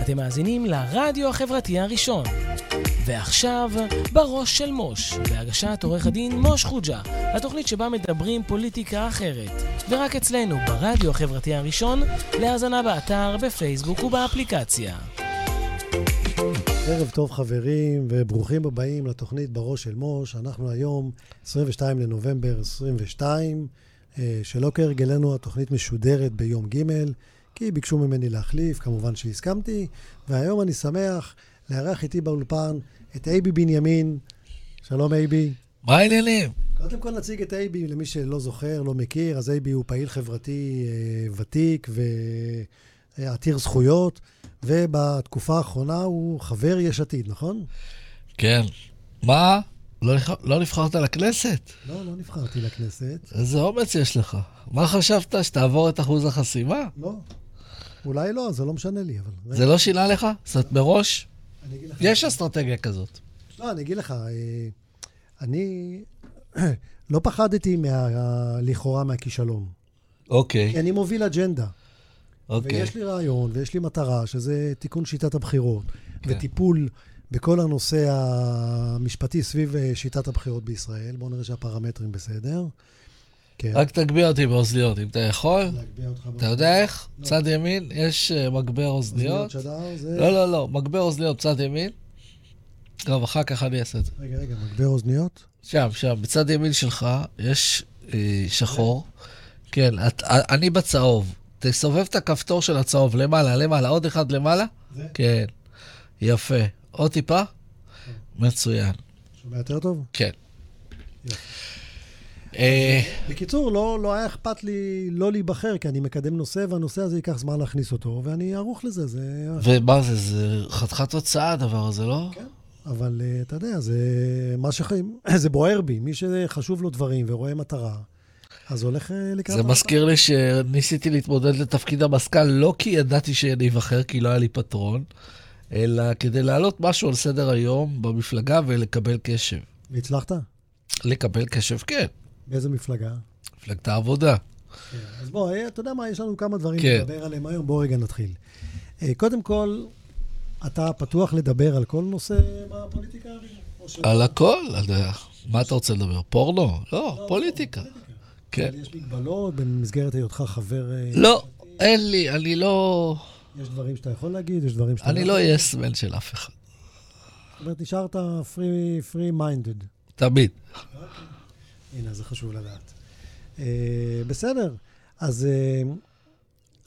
אתם מאזינים לרדיו החברתי הראשון. ועכשיו, בראש של מוש, בהגשת עורך הדין מוש חוג'ה, התוכנית שבה מדברים פוליטיקה אחרת, ורק אצלנו, ברדיו החברתי הראשון, להאזנה באתר, בפייסבוק ובאפליקציה. ערב טוב חברים, וברוכים הבאים לתוכנית בראש של מוש. אנחנו היום 22 לנובמבר 22, אה, שלא כהרגלנו התוכנית משודרת ביום ג', כי ביקשו ממני להחליף, כמובן שהסכמתי, והיום אני שמח לארח איתי באולפן את אייבי בנימין. שלום אייבי. מה העניינים? קודם כל נציג את אייבי, למי שלא זוכר, לא מכיר, אז אייבי הוא פעיל חברתי אה, ותיק ועתיר זכויות, ובתקופה האחרונה הוא חבר יש עתיד, נכון? כן. מה? לא, נבח... לא נבחרת לכנסת? לא, לא נבחרתי לכנסת. איזה אומץ יש לך. מה חשבת, שתעבור את אחוז החסימה? לא. אולי לא, זה לא משנה לי, אבל... זה לא שינה לך? זאת אומרת, מראש? אני אגיד לך... יש אסטרטגיה כזאת. לא, אני אגיד לך, אה, אני לא פחדתי מה... אה, לכאורה מהכישלון. אוקיי, כי אני מוביל אג'נדה. אוקיי. ויש לי רעיון ויש לי מטרה, שזה תיקון שיטת הבחירות, כן. וטיפול בכל הנושא המשפטי סביב אה, שיטת הבחירות בישראל. בואו נראה שהפרמטרים בסדר. כן. רק תגביה אותי באוזניות, אם אתה יכול. להגביה אותך אוקיי. אתה יודע איך? צד ימין, יש אה, מגבר אוזניות שדר אוזניות. זה... לא, לא, לא, מגבר אוזניות צד ימין. טוב, אחר כך אני אעשה את זה. רגע, רגע, מגביה אוזניות? שם, שם, בצד ימין שלך יש אה, שחור. כן, את, אני בצהוב. תסובב את הכפתור של הצהוב למעלה, למעלה, עוד אחד למעלה. זה? כן, יפה. עוד טיפה? מצוין. שומע יותר טוב? כן. יפה. אה, בקיצור, לא, לא היה אכפת לי לא להיבחר, כי אני מקדם נושא, והנושא הזה ייקח זמן להכניס אותו, ואני ערוך לזה, זה... ומה זה, זה חתיכת תוצאה הדבר הזה, לא? כן. אבל אה, אתה יודע, זה מה ש... זה בוער בי. מי שחשוב לו דברים ורואה מטרה, אז הולך אה, לקראת... זה המטרה. מזכיר לי שניסיתי להתמודד לתפקיד המזכ"ל לא כי ידעתי שאני אבחר, כי לא היה לי פטרון, אלא כדי להעלות משהו על סדר היום במפלגה ולקבל קשב. והצלחת? לקבל קשב, כן. באיזה מפלגה? מפלגת העבודה. כן, אז בוא, אה, אתה יודע מה, יש לנו כמה דברים כן. לדבר עליהם היום, בוא רגע נתחיל. אה, קודם כל, אתה פתוח לדבר על כל נושא בפוליטיקה? או ש- על הכל, על מה אתה רוצה לדבר? פורנו? לא, פוליטיקה. כן. אבל יש מגבלות במסגרת היותך חבר... אה, לא, אין לי, אני לא... יש דברים שאתה יכול להגיד, יש דברים שאתה... אני לא אהיה סמל של אף אחד. זאת אומרת, נשארת פרי מיינדד. תמיד. הנה, זה חשוב לדעת. אה, בסדר, אז אה,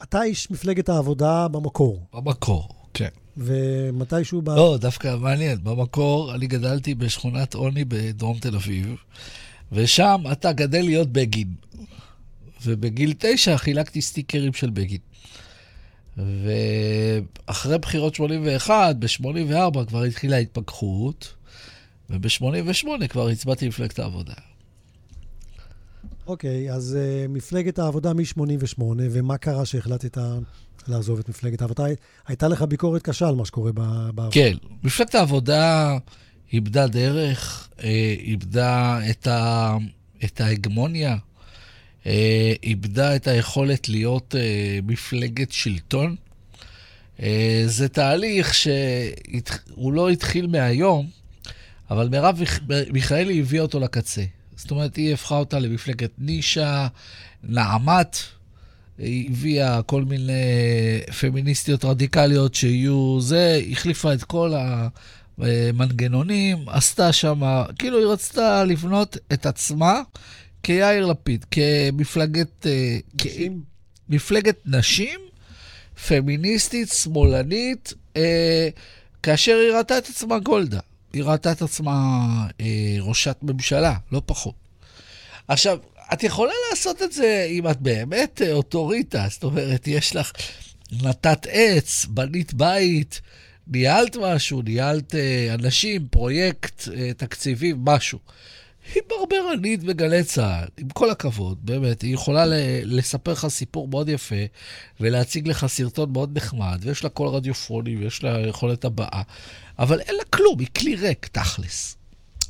אתה איש מפלגת העבודה במקור, במקור, כן. ומתישהו ב... לא, דווקא מעניין. במקור, אני גדלתי בשכונת עוני בדרום תל אביב, ושם אתה גדל להיות בגין. ובגיל תשע חילקתי סטיקרים של בגין. ואחרי בחירות 81, ב-84 כבר התחילה ההתפכחות, וב-88 כבר הצבעתי למפלגת העבודה. אוקיי, אז אה, מפלגת העבודה מ-88, ומה קרה שהחלטת לעזוב את מפלגת העבודה? הייתה לך ביקורת קשה על מה שקורה ב- בעבודה. כן, מפלגת העבודה איבדה דרך, אה, איבדה את, ה, את ההגמוניה, אה, איבדה את היכולת להיות אה, מפלגת שלטון. אה, זה תהליך שהוא לא התחיל מהיום, אבל מרב מיכ- מיכאלי הביאה אותו לקצה. זאת אומרת, היא הפכה אותה למפלגת נישה, נעמת, היא הביאה כל מיני פמיניסטיות רדיקליות שיהיו זה, החליפה את כל המנגנונים, עשתה שם, כאילו היא רצתה לבנות את עצמה כיאיר לפיד, כמפלגת... אה, כ- נשים? מפלגת נשים, פמיניסטית, שמאלנית, אה, כאשר היא ראתה את עצמה גולדה. היא ראתה את עצמה אה, ראשת ממשלה, לא פחות. עכשיו, את יכולה לעשות את זה אם את באמת אה, אוטוריטה, זאת אומרת, יש לך, נטעת עץ, בנית בית, ניהלת משהו, ניהלת אה, אנשים, פרויקט, אה, תקציבים, משהו. היא ברברנית בגלי צה"ל, עם כל הכבוד, באמת, היא יכולה ל- לספר לך סיפור מאוד יפה ולהציג לך סרטון מאוד נחמד, ויש לה קול רדיופוני ויש לה יכולת הבעה, אבל אין לה כלום, היא כלי ריק, תכלס.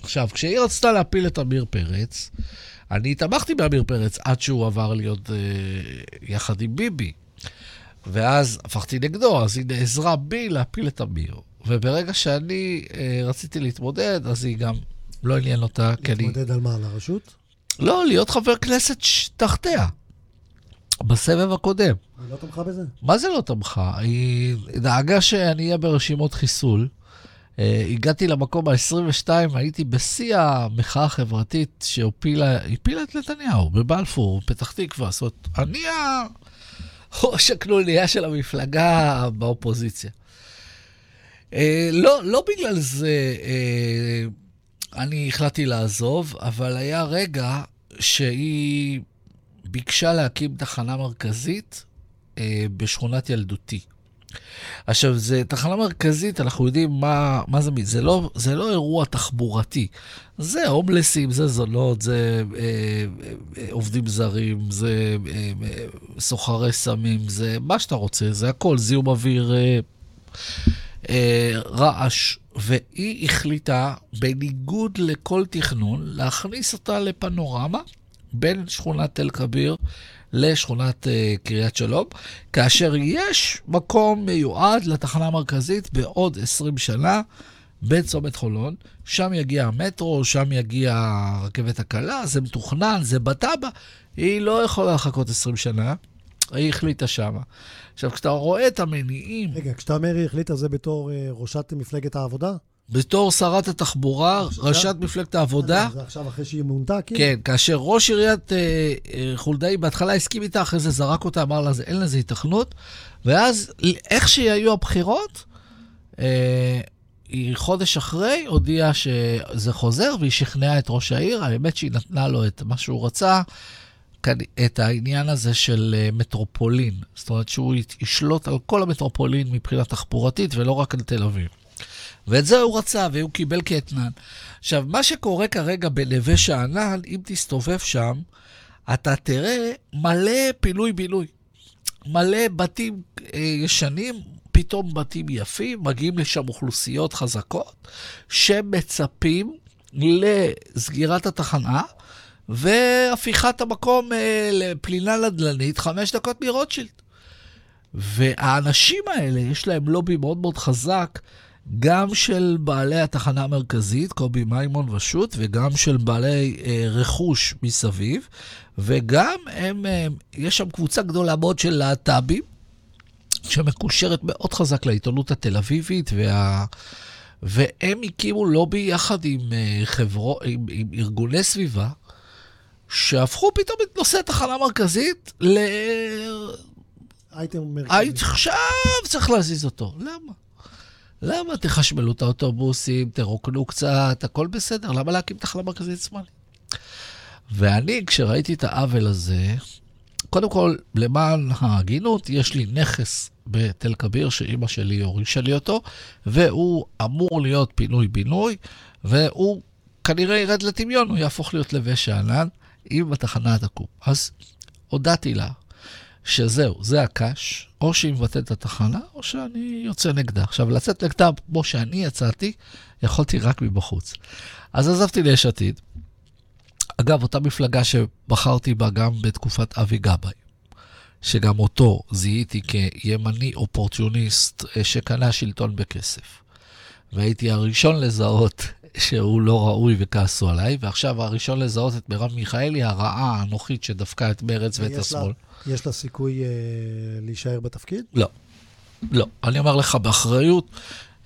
עכשיו, כשהיא רצתה להפיל את עמיר פרץ, אני תמכתי בעמיר פרץ עד שהוא עבר להיות אה, יחד עם ביבי. ואז הפכתי נגדו, אז היא נעזרה בי להפיל את אמיר. וברגע שאני אה, רציתי להתמודד, אז היא גם לא עניין אותה, כי אני... להתמודד על מה? על הרשות? לא, להיות חבר כנסת ש- תחתיה, בסבב הקודם. היא לא תמכה בזה? מה זה לא תמכה? היא דאגה שאני אהיה ברשימות חיסול. אה, הגעתי למקום ה-22, הייתי בשיא המחאה החברתית שהפילה הפילה את נתניהו בבלפור, פתח תקווה. זאת אומרת, אני הראש הקנוניה של המפלגה באופוזיציה. אה, לא, לא בגלל זה אה, אני החלטתי לעזוב, אבל היה רגע שהיא ביקשה להקים תחנה מרכזית אה, בשכונת ילדותי. עכשיו, זו תחנה מרכזית, אנחנו יודעים מה, מה זה, מי- זה לא, זה לא אירוע תחבורתי. זה הומלסים, זה זונות, זה אה, אה, אה, עובדים זרים, זה אה, אה, סוחרי סמים, זה מה שאתה רוצה, זה הכל, זיהום אוויר, אה, אה, רעש. והיא החליטה, בניגוד לכל תכנון, להכניס אותה לפנורמה בין שכונת תל כביר לשכונת אה, קריית שלום, כאשר יש מקום מיועד לתחנה המרכזית בעוד 20 שנה בצומת חולון, שם יגיע המטרו, שם יגיע הרכבת הקלה, זה מתוכנן, זה בתב"ע, היא לא יכולה לחכות 20 שנה, היא החליטה שמה. עכשיו, כשאתה רואה את המניעים... רגע, כשאתה אומר היא החליטה זה בתור אה, ראשת מפלגת העבודה? בתור שרת התחבורה, ראשת מפלגת העבודה, זה עכשיו אחרי שהיא מונתה? כאילו? כן, כאשר ראש עיריית אה, אה, חולדאי בהתחלה הסכים איתה, אחרי זה זרק אותה, אמר לה, "זה- אין לזה היתכנות, ואז איך שהיו הבחירות, אה, היא חודש אחרי הודיעה שזה חוזר, והיא שכנעה את ראש העיר, האמת שהיא נתנה לו את מה שהוא רצה, כאן- את העניין הזה של אה, מטרופולין, זאת אומרת שהוא ית- ישלוט על כל המטרופולין מבחינה תחבורתית, ולא רק על תל אביב. ואת זה הוא רצה, והוא קיבל כאתנן. עכשיו, מה שקורה כרגע בנווה שאנן, אם תסתובב שם, אתה תראה מלא פינוי-בינוי. מלא בתים אה, ישנים, פתאום בתים יפים, מגיעים לשם אוכלוסיות חזקות, שמצפים לסגירת התחנה והפיכת המקום אה, לפלינה נדל"נית חמש דקות מרוטשילד. והאנשים האלה, יש להם לובי מאוד מאוד חזק, גם של בעלי התחנה המרכזית, קובי מימון ושות', וגם של בעלי אה, רכוש מסביב, וגם הם, אה, יש שם קבוצה גדולה מאוד של להט"בים, שמקושרת מאוד חזק לעיתונות התל אביבית, וה... והם הקימו לובי יחד עם, אה, חברו, עם, עם ארגוני סביבה, שהפכו פתאום את נושא התחנה המרכזית ל... אייטם מרכזי. היית עכשיו צריך להזיז אותו. למה? למה תחשמלו את האוטובוסים, תרוקנו קצת, הכל בסדר, למה להקים תחנה מרכזית שמאלית? ואני, כשראיתי את העוול הזה, קודם כל, למען ההגינות, יש לי נכס בתל כביר, שאימא שלי הורישה לי אותו, והוא אמור להיות פינוי-בינוי, והוא כנראה ירד לטמיון, הוא יהפוך להיות לבי שאנן, אם התחנה תקום. אז הודעתי לה, שזהו, זה הקש, או שהיא מבטאת את התחנה, או שאני יוצא נגדה. עכשיו, לצאת נגדה כמו שאני יצאתי, יכולתי רק מבחוץ. אז עזבתי ליש עתיד. אגב, אותה מפלגה שבחרתי בה גם בתקופת אבי גבאי, שגם אותו זיהיתי כימני אופורטיוניסט אה, שקנה שלטון בכסף. והייתי הראשון לזהות שהוא לא ראוי וכעסו עליי, ועכשיו הראשון לזהות את מרב מיכאלי, הרעה האנוכית שדפקה את מרצ ואת יש לה- השמאל. יש לה סיכוי אה, להישאר בתפקיד? לא. לא. אני אומר לך באחריות,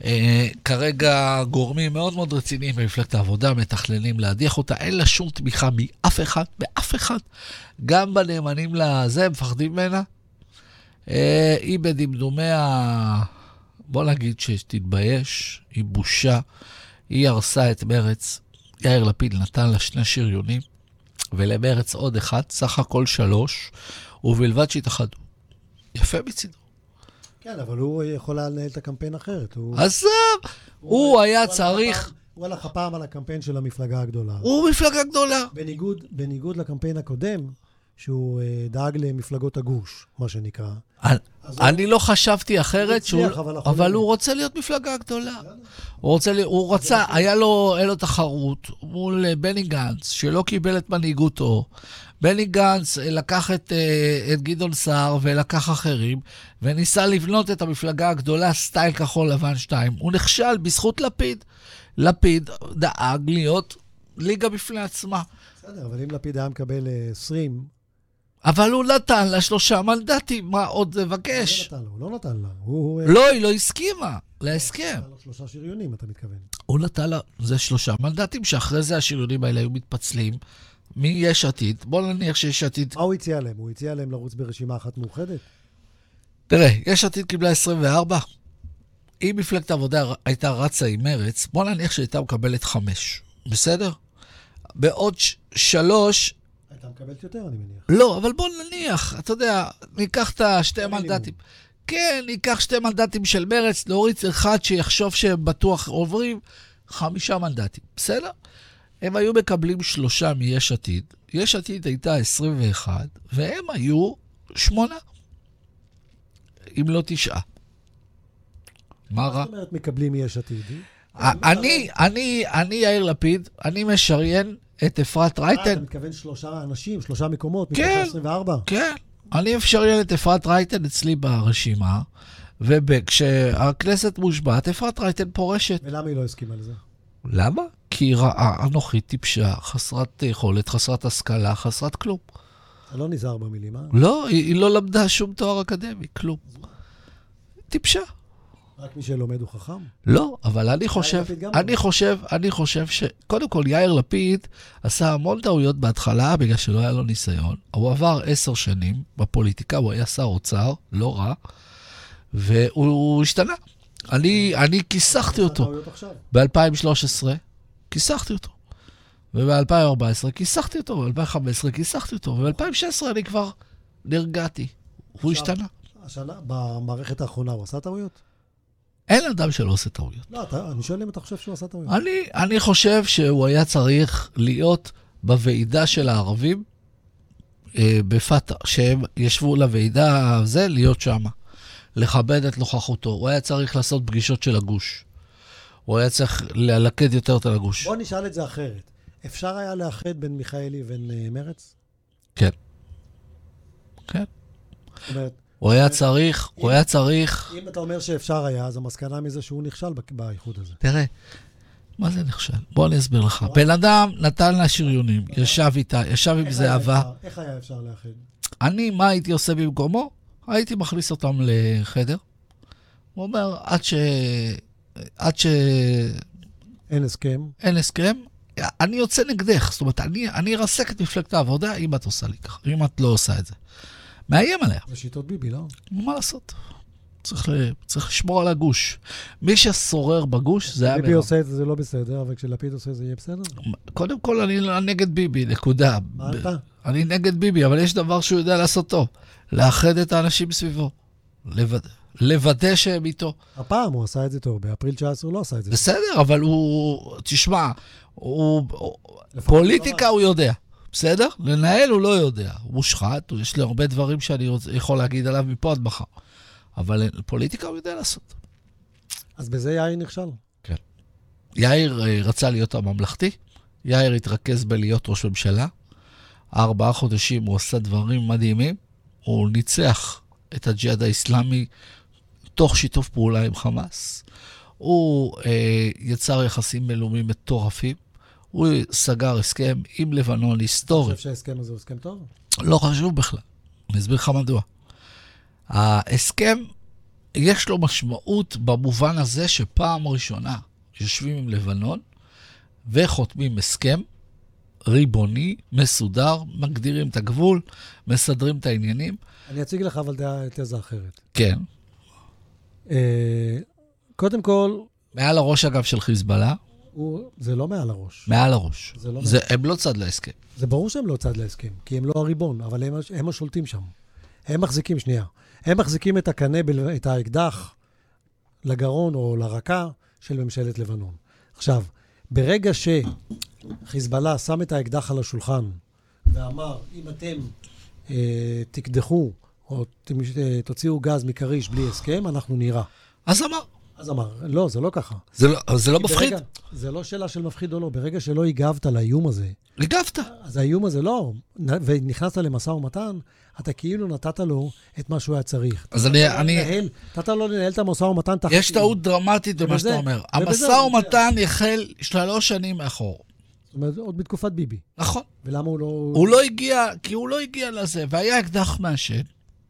אה, כרגע גורמים מאוד מאוד רציניים במפלגת העבודה מתכננים להדיח אותה, אין לה שום תמיכה מאף אחד, מאף אחד. גם בנאמנים לזה, הם מפחדים ממנה. אה, היא בדמדומי ה... בוא נגיד שתתבייש, היא בושה. היא הרסה את מרץ. יאיר לפיד נתן לה שני שריונים, ולמרץ עוד אחד, סך הכל שלוש, ובלבד שהתאחדו. יפה מצידו. כן, אבל הוא יכול היה לנהל את הקמפיין אחרת. הוא- עזב, הוא היה צריך, הוא הלך הפעם על הקמפיין של המפלגה הגדולה. הוא מפלגה גדולה. בניגוד, בניגוד לקמפיין הקודם, שהוא אה, דאג למפלגות הגוש, מה שנקרא. אז אני לא חשבתי אחרת, הצליח, שהוא- אבל אנחנו אבל לא- הוא רוצה להיות מפלגה גדולה. הוא רוצה, להיות- הוא רצה, היה לו, היה לו תחרות מול אה, בני גנץ, שלא קיבל את מנהיגותו. בני גנץ אה, לקח את, אה, את גדעון סער ולקח אחרים, וניסה לבנות את המפלגה הגדולה סטייל כחול לבן 2. הוא נכשל בזכות לפיד. לפיד דאג להיות ליגה בפני עצמה. בסדר, אבל אם לפיד היה מקבל אה, 20, אבל הוא נתן לה שלושה מנדטים, מה עוד לבקש? הוא לא נתן לה, הוא לא נתן לה. הוא... אה, לא, היא לא הסכימה להסכם. נתן לו שלושה שריונים, אתה מתכוון. הוא נתן לה, זה שלושה מנדטים, שאחרי זה השריונים האלה היו מתפצלים מיש עתיד. בוא נניח שיש עתיד... מה הוא הציע להם? הוא הציע להם לרוץ ברשימה אחת מאוחדת? תראה, יש עתיד קיבלה 24. אם מפלגת העבודה ר- הייתה רצה עם מרץ, בוא נניח שהייתה מקבלת חמש, בסדר? בעוד ש- שלוש, הייתה מקבלת יותר, אני מניח. לא, אבל בוא נניח, אתה יודע, ניקח את השתי מנדטים. כן, ניקח שתי מנדטים של מרץ, נוריד אחד שיחשוב שהם בטוח עוברים, חמישה מנדטים, בסדר? הם היו מקבלים שלושה מיש עתיד, יש עתיד הייתה 21, והם היו שמונה, אם לא תשעה. מה רע? זאת אומרת, מקבלים מיש עתיד. אני, אני, אני יאיר לפיד, אני משריין את אפרת אה, אתה רייטן. מתכוון שלושה אנשים, שלושה מקומות, מתוך כן. ה-24? כן, אני אפשרי את אפרת רייטן אצלי ברשימה, וכשהכנסת מושבעת, אפרת רייטן פורשת. ולמה היא לא הסכימה לזה? למה? כי היא רעה, אנוכית, טיפשה, חסרת יכולת, חסרת השכלה, חסרת כלום. אתה לא נזהר במילים, אה? לא, היא, היא לא למדה שום תואר אקדמי, כלום. טיפשה. רק מי שלומד הוא חכם? לא, אבל אני חושב, לפיד גם אני לא. חושב, אני חושב ש... קודם כל, יאיר לפיד עשה המון טעויות בהתחלה, בגלל שלא היה לו ניסיון. הוא עבר עשר שנים בפוליטיקה, הוא היה שר אוצר, לא רע, והוא השתנה. אני, אני כיסחתי אותו הטעויות עכשיו. ב-2013, כיסחתי אותו. וב-2014 כיסחתי אותו, ב-2015 כיסחתי אותו, וב-2016 אני כבר נרגעתי. הוא עכשיו- השתנה. השנה, במערכת האחרונה הוא עשה טעויות? אין אדם שלא עושה טעויות. לא, אתה- אני שואל אם אתה חושב שהוא עשה טעויות. אני, אני חושב שהוא היה צריך להיות בוועידה של הערבים, אה, בפת"ח, שהם ישבו לוועידה הזה, להיות שם, לכבד את נוכחותו. הוא היה צריך לעשות פגישות של הגוש. הוא היה צריך ללכד יותר את הגוש. בוא נשאל את זה אחרת. אפשר היה לאחד בין מיכאלי ובין אה, מרץ? כן. כן. זאת אומרת, הוא היה צריך, הוא היה צריך... אם אתה אומר שאפשר היה, אז המסקנה מזה שהוא נכשל בק- באיחוד הזה. תראה, מה זה נכשל? בוא אני אסביר לך. בן אדם נתן לה שריונים, ישב איתה, ישב עם איך היה זהבה. אפשר- איך היה אפשר לאחד? אני, מה הייתי עושה במקומו? הייתי מכניס אותם לחדר. הוא אומר, עד ש... עד שאין אין הסכם. הסכם, אני יוצא נגדך. זאת אומרת, אני, אני ארסק את מפלגת העבודה אם את עושה לי ככה, אם את לא עושה את זה. מאיים עליה. זה שיטות ביבי, לא? מה לעשות? צריך, ל... צריך לשמור על הגוש. מי ששורר בגוש זה היה ביבי עושה את זה, זה לא בסדר, אבל כשלפיד עושה את זה, יהיה בסדר? קודם כל, אני לא- נגד ביבי, נקודה. מה אתה? אני נגד ביבי, אבל יש דבר שהוא יודע לעשות טוב, לאחד את האנשים סביבו, לוודא, לוודא שהם איתו. הפעם הוא עשה את זה טוב, באפריל 19 הוא לא עשה את זה. בסדר, אבל הוא, תשמע, הוא, הוא- פוליטיקה הוא יודע, בסדר? לנהל הוא לא יודע, הוא מושחת, הוא- יש לי הרבה דברים שאני רוצ- יכול להגיד עליו מפה עד מחר, אבל פוליטיקה הוא יודע לעשות. אז בזה יאיר נכשל. יאיר אה, רצה להיות הממלכתי, יאיר התרכז בלהיות ראש ממשלה. ארבעה חודשים הוא עשה דברים מדהימים, הוא ניצח את הג'יהאד האיסלאמי תוך שיתוף פעולה עם חמאס. הוא אה, יצר יחסים בינלאומיים מטורפים, הוא סגר הסכם עם לבנון אתה היסטורי, חושב שההסכם הזה הוא הסכם טוב? לא חשוב בכלל, אני אסביר לך מדוע. ההסכם, יש לו משמעות במובן הזה שפעם ראשונה יושבים עם לבנון וחותמים הסכם ריבוני, מסודר, מגדירים את הגבול, מסדרים את העניינים. אני אציג לך אבל דעה- תזה אחרת. כן. אה, קודם כל, מעל הראש, אגב, של חיזבאללה, הוא- זה לא מעל הראש. מעל הראש. זה לא זה, הם לא צד להסכם. זה ברור שהם לא צד להסכם, כי הם לא הריבון, אבל הם, הש- הם השולטים שם. הם מחזיקים, שנייה, הם מחזיקים את הקנה, בל- את האקדח לגרון או לרקה של ממשלת לבנון. עכשיו, ברגע שחיזבאללה שם את האקדח על השולחן ואמר, אם אתם אה, תקדחו או ת- אה, תוציאו גז מכריש בלי הסכם, אנחנו נירה. אז אמר, אז אמר, לא, זה לא ככה. זה לא, אבל זה לא מפחיד, ברגע, זה לא שאלה של מפחיד או לא. ברגע שלא הגבת לאיום הזה, הגבת. אז האיום הזה לא, נ- ונכנסת למשא ומתן, אתה כאילו נתת לו את מה שהוא היה צריך. אז אני, אני, לנהל, נתת לו לנהל את המשא ומתן תחת... יש טעות דרמטית במה ובזה- שאתה אומר. ובזה- המשא ומתן החל שלוש שנים מאחור. זאת אומרת, עוד בתקופת ביבי. נכון. ולמה הוא לא... הוא, הוא לא הגיע, כי הוא לא הגיע לזה, והיה אקדח מעשן.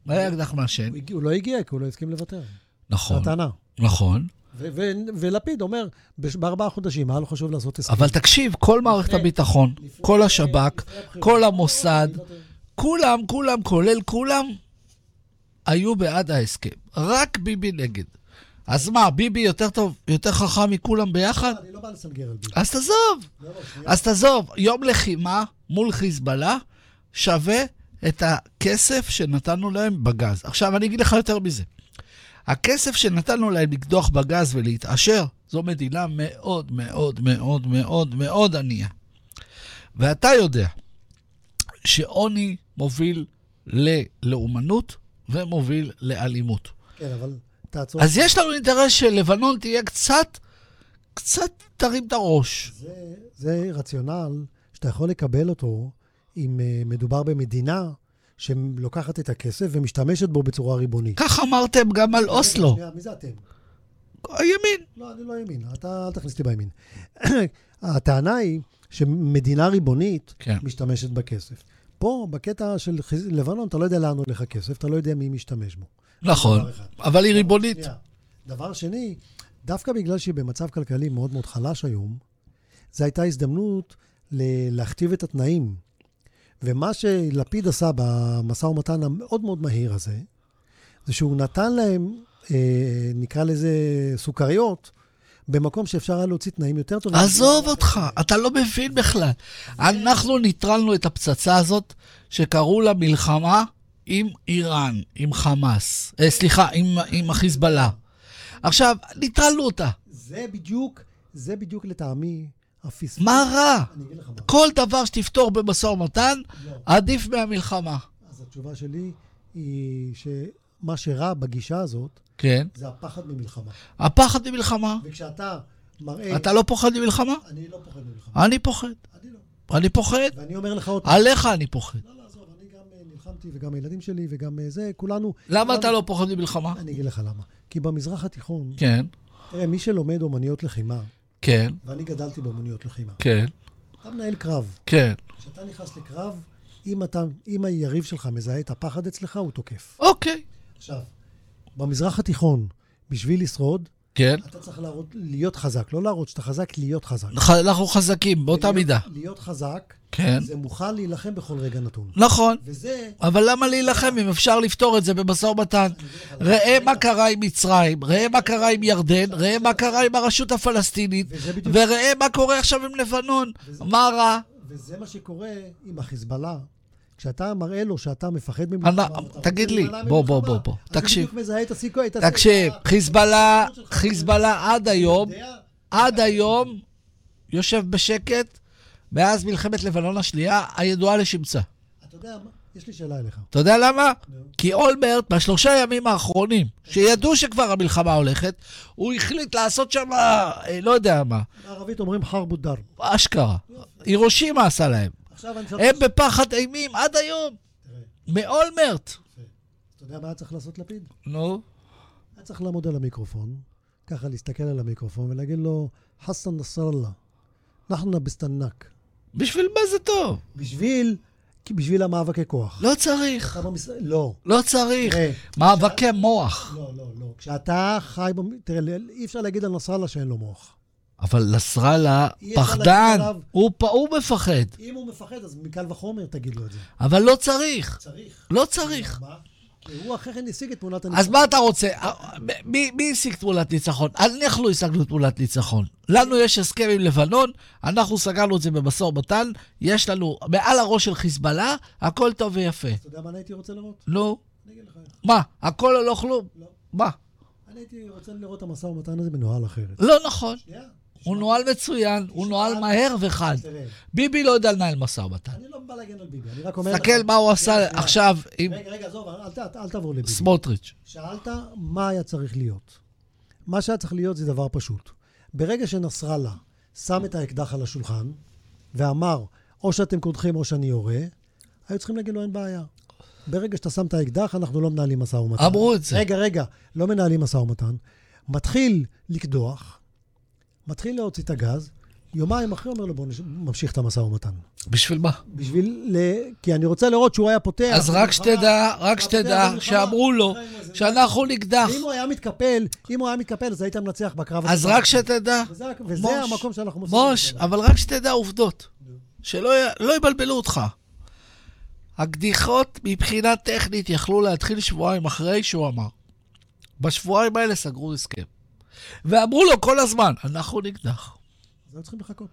היה אקדח מעשן. הגיע- הוא לא הגיע, כי הוא לא הסכים לוותר. זו נכון, הטענה. נכון. ו- ו- ולפיד אומר, בש- בארבעה חודשים, היה לו חשוב לעשות הסכם. אבל תקשיב, כל מערכת הביטחון, כל השב"כ, כל המוסד, כולם, כולם, כולל כולם, היו בעד ההסכם. רק ביבי נגד. אז מה, ביבי יותר טוב, יותר חכם מכולם ביחד? אני לא בא לסנגר על ביבי. אז תעזוב. אז תעזוב, יום לחימה מול חיזבאללה שווה את הכסף שנתנו להם בגז. עכשיו, אני אגיד לך יותר מזה. הכסף שנתנו להם לקדוח בגז ולהתעשר, זו מדינה מאוד מאוד מאוד מאוד מאוד ענייה. ואתה יודע שעוני מוביל ללאומנות ומוביל לאלימות. כן, אבל תעצור. אז יש לנו אינטרס שלבנון תהיה קצת, קצת תרים את הראש. זה, זה רציונל שאתה יכול לקבל אותו אם אה, מדובר במדינה שלוקחת את הכסף ומשתמשת בו בצורה ריבונית. כך אמרתם גם על אוסלו. שנייה, מי זה אתם? הימין. לא, אני לא ימין, אתה אל תכניס אותי בימין. הטענה היא שמדינה ריבונית כן. משתמשת בכסף. פה, בקטע של חיז... לבנון, אתה לא יודע לאן הולך הכסף, אתה לא יודע מי משתמש בו. נכון, דבר אחד. אבל היא ריבונית. שנייה. דבר שני, דווקא בגלל שהיא במצב כלכלי מאוד מאוד חלש היום, זו הייתה הזדמנות ל- להכתיב את התנאים. ומה שלפיד עשה במשא ומתן המאוד מאוד מהיר הזה, זה שהוא נתן להם, אה, נקרא לזה, סוכריות, במקום שאפשר היה להוציא תנאים יותר טובים. עזוב אותך, אתה לא מבין בכלל. אנחנו ניטרלנו את הפצצה הזאת שקראו לה מלחמה עם איראן, עם חמאס. אה, סליחה, עם- עם החיזבאללה. עכשיו, ניטרלנו אותה. זה בדיוק, זה בדיוק לטעמי הפספוס. מה רע? אני אגיד לך מה. כל דבר שתפתור במשא ומתן, לא. עדיף מהמלחמה. אז התשובה שלי היא שמה שרע בגישה הזאת, כן. זה הפחד ממלחמה. הפחד ממלחמה. וכשאתה מראה... אתה לא פוחד ממלחמה? אני לא פוחד ממלחמה. אני פוחד. אני לא. אני פוחד. ואני אומר לך עוד... עליך אני פוחד. לא, לא, עזוב, אני גם אה, נלחמתי, וגם הילדים שלי, וגם אה, זה, כולנו... למה כולנו- אתה לא פוחד ממלחמה? אני אגיד לך למה. כי במזרח התיכון, כן, תראה, מי שלומד אומניות לחימה, כן, ואני גדלתי באומניות לחימה, כן, אתה מנהל קרב. כן. כשאתה נכנס לקרב, אם, אתה, אם היריב שלך מזהה את הפחד אצלך, הוא תוקף. אוקיי. עכשיו, במזרח התיכון, בשביל לשרוד, כן. אתה צריך להראות, להיות חזק. לא להראות שאתה חזק, להיות חזק. ח- אנחנו חזקים, באותה ולהיות- מידה. להיות חזק, לא כן. זה מוכן להילחם בכל רגע נתון. נכון. וזה, אבל למה להילחם אם אפשר לפתור את זה במשא ומתן? ראה מה קרה עם מצרים, ראה מה קרה עם ירדן, ראה מה קרה עם הרשות הפלסטינית, וזה בדיוק- וראה מה קורה עכשיו עם לבנון. מה רע? וזה מה שקורה עם החיזבאללה. כשאתה מראה לו שאתה מפחד אנא, ממלחמה, ואתה תגיד רוצה לי, להימנע בוא, בוא, ממלחמה, בוא, בוא. אז הוא תקשיב. בדיוק מזהה את הסיכוי, את הסיכוי. תקשיב, אתה- חיזבאללה, אתה יודע, חיזבאללה עד היום, אתה יודע, עד היום, יושב בשקט מאז מלחמת לבנון השנייה הידועה לשמצה. אתה יודע, מה? יש לי שאלה אליך. אתה יודע למה? נו. כי אולמרט, בשלושה ימים האחרונים, שידעו שכבר המלחמה הולכת, הוא החליט לעשות שם, אה, לא יודע מה, בערבית אומרים חרבו דר. אשכרה. הירושימה עשה להם. עכשיו אני שואל... הם בפחד אימים עד היום, תראה, מאולמרט. אתה יודע מה היה צריך לעשות לפיד? נו, היה צריך לעמוד על המיקרופון, ככה להסתכל על המיקרופון ולהגיד לו, חסן נסראללה, אנחנו נבסטנק. בשביל מה זה טוב? בשביל, כי בשביל המאבקי כוח. לא צריך, אתה במש- לא. לא צריך. תראה, מאבקי מוח. לא, לא, לא. כשאתה חי... במ- תראה, לא- אי אפשר להגיד על נסראללה שאין לו מוח. אבל נסראללה אי אפשר פחדן, להגיד עליו- הוא פ- הוא מפחד. אם הוא מפחד, אז מקל וחומר תגיד לו את זה. אבל לא צריך, צריך. לא צריך. מה? כי הוא אחרי כן השיג את תמונת אז הניצחון. מה אתה רוצה? מי, מי השיג תמונת ניצחון? אנחנו השגנו תמונת ניצחון. לנו יש הסכם עם לבנון, אנחנו סגרנו את זה במשא ומתן, יש לנו מעל הראש של חיזבאללה, הכל טוב ויפה. אתה יודע מה אני הייתי רוצה לראות? נו, אני אגיד לך איך. מה, הכל או לא כלום? לא. מה? אני הייתי רוצה לראות את המשא ומתן הזה מנוהל אחרת. לא נכון. שנייה. הוא נוהל מצוין, הוא נוהל מהר וחד. תראה, ביבי לא יודע לנהל משא ומתן. אני לא בא להגן על ביבי, אני רק אומר... תסתכל מה הוא עשה שנייה. עכשיו עם רגע, רגע, עזוב, אל ת- אל תעבור לביבי. סמוטריץ'. שאלת מה היה צריך להיות. מה שהיה צריך להיות זה דבר פשוט. ברגע שנסראללה שם את האקדח על השולחן ואמר, או שאתם קודחים או שאני יורה, היו צריכים להגיד לו, אין בעיה. ברגע שאתה שם את האקדח, אנחנו לא מנהלים משא ומתן. אמרו את זה. רגע, רגע, לא מנהלים משא ומתן. מתחיל לקדוח, מתחיל להוציא את הגז, יומיים אחרי אומר לו, בואו נש- נמשיך את המשא ומתן. בשביל מה? בשביל ל... כי אני רוצה לראות שהוא היה פותח. אז רק במלחמה. שתדע, רק אבל שתדע, זה מלחמה. שאמרו לו שאנחנו נקדח. אם הוא היה מתקפל, אם הוא היה מתקפל, אז היית מנצח בקרב אז הזה. רק שתדע, וזה- וזה מוש, המקום שאנחנו מוסיפים. מוש, אבל רק שתדע עובדות. שלא י- לא יבלבלו אותך. הקדיחות מבחינה טכנית יכלו להתחיל שבועיים אחרי שהוא אמר. בשבועיים האלה סגרו הסכם. ואמרו לו כל הזמן, אנחנו נקדח. אז היו לא צריכים לחכות.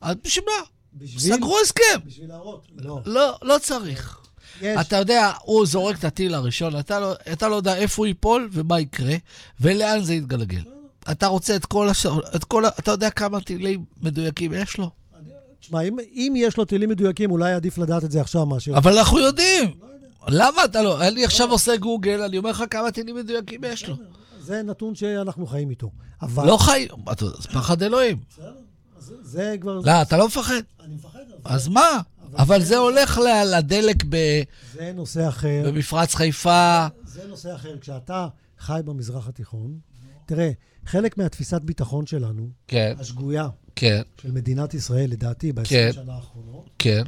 אז בשביל מה? בשביל... סגרו הסכם. בשביל להראות. לא. לא, לא צריך. יש. אתה יודע, הוא זורק את הטיל הראשון, אתה לא, אתה לא יודע איפה הוא ייפול ומה יקרה, ולאן זה יתגלגל. אתה רוצה את כל הש... את כל ה... אתה יודע כמה טילים מדויקים יש לו? תשמע, אם- אם יש לו טילים מדויקים, אולי עדיף לדעת את זה עכשיו מאשר... אבל אנחנו יודעים. למה אתה לא? אני עכשיו עושה גוגל, אני אומר לך כמה טילים מדויקים יש לו. זה נתון שאנחנו חיים איתו. אבל... לא חי... אתה יודע, זה פחד אלוהים. בסדר. אז זה כבר... לא, אתה לא מפחד. אני מפחד. אבל אז מה? אבל זה הולך ל- לדלק ב- זה נושא אחר. במפרץ חיפה. זה נושא אחר. כשאתה חי במזרח התיכון, תראה, חלק מהתפיסת ביטחון שלנו, כן, השגויה כן, של מדינת ישראל, לדעתי, כן. ב-20 שנה האחרונות, כן.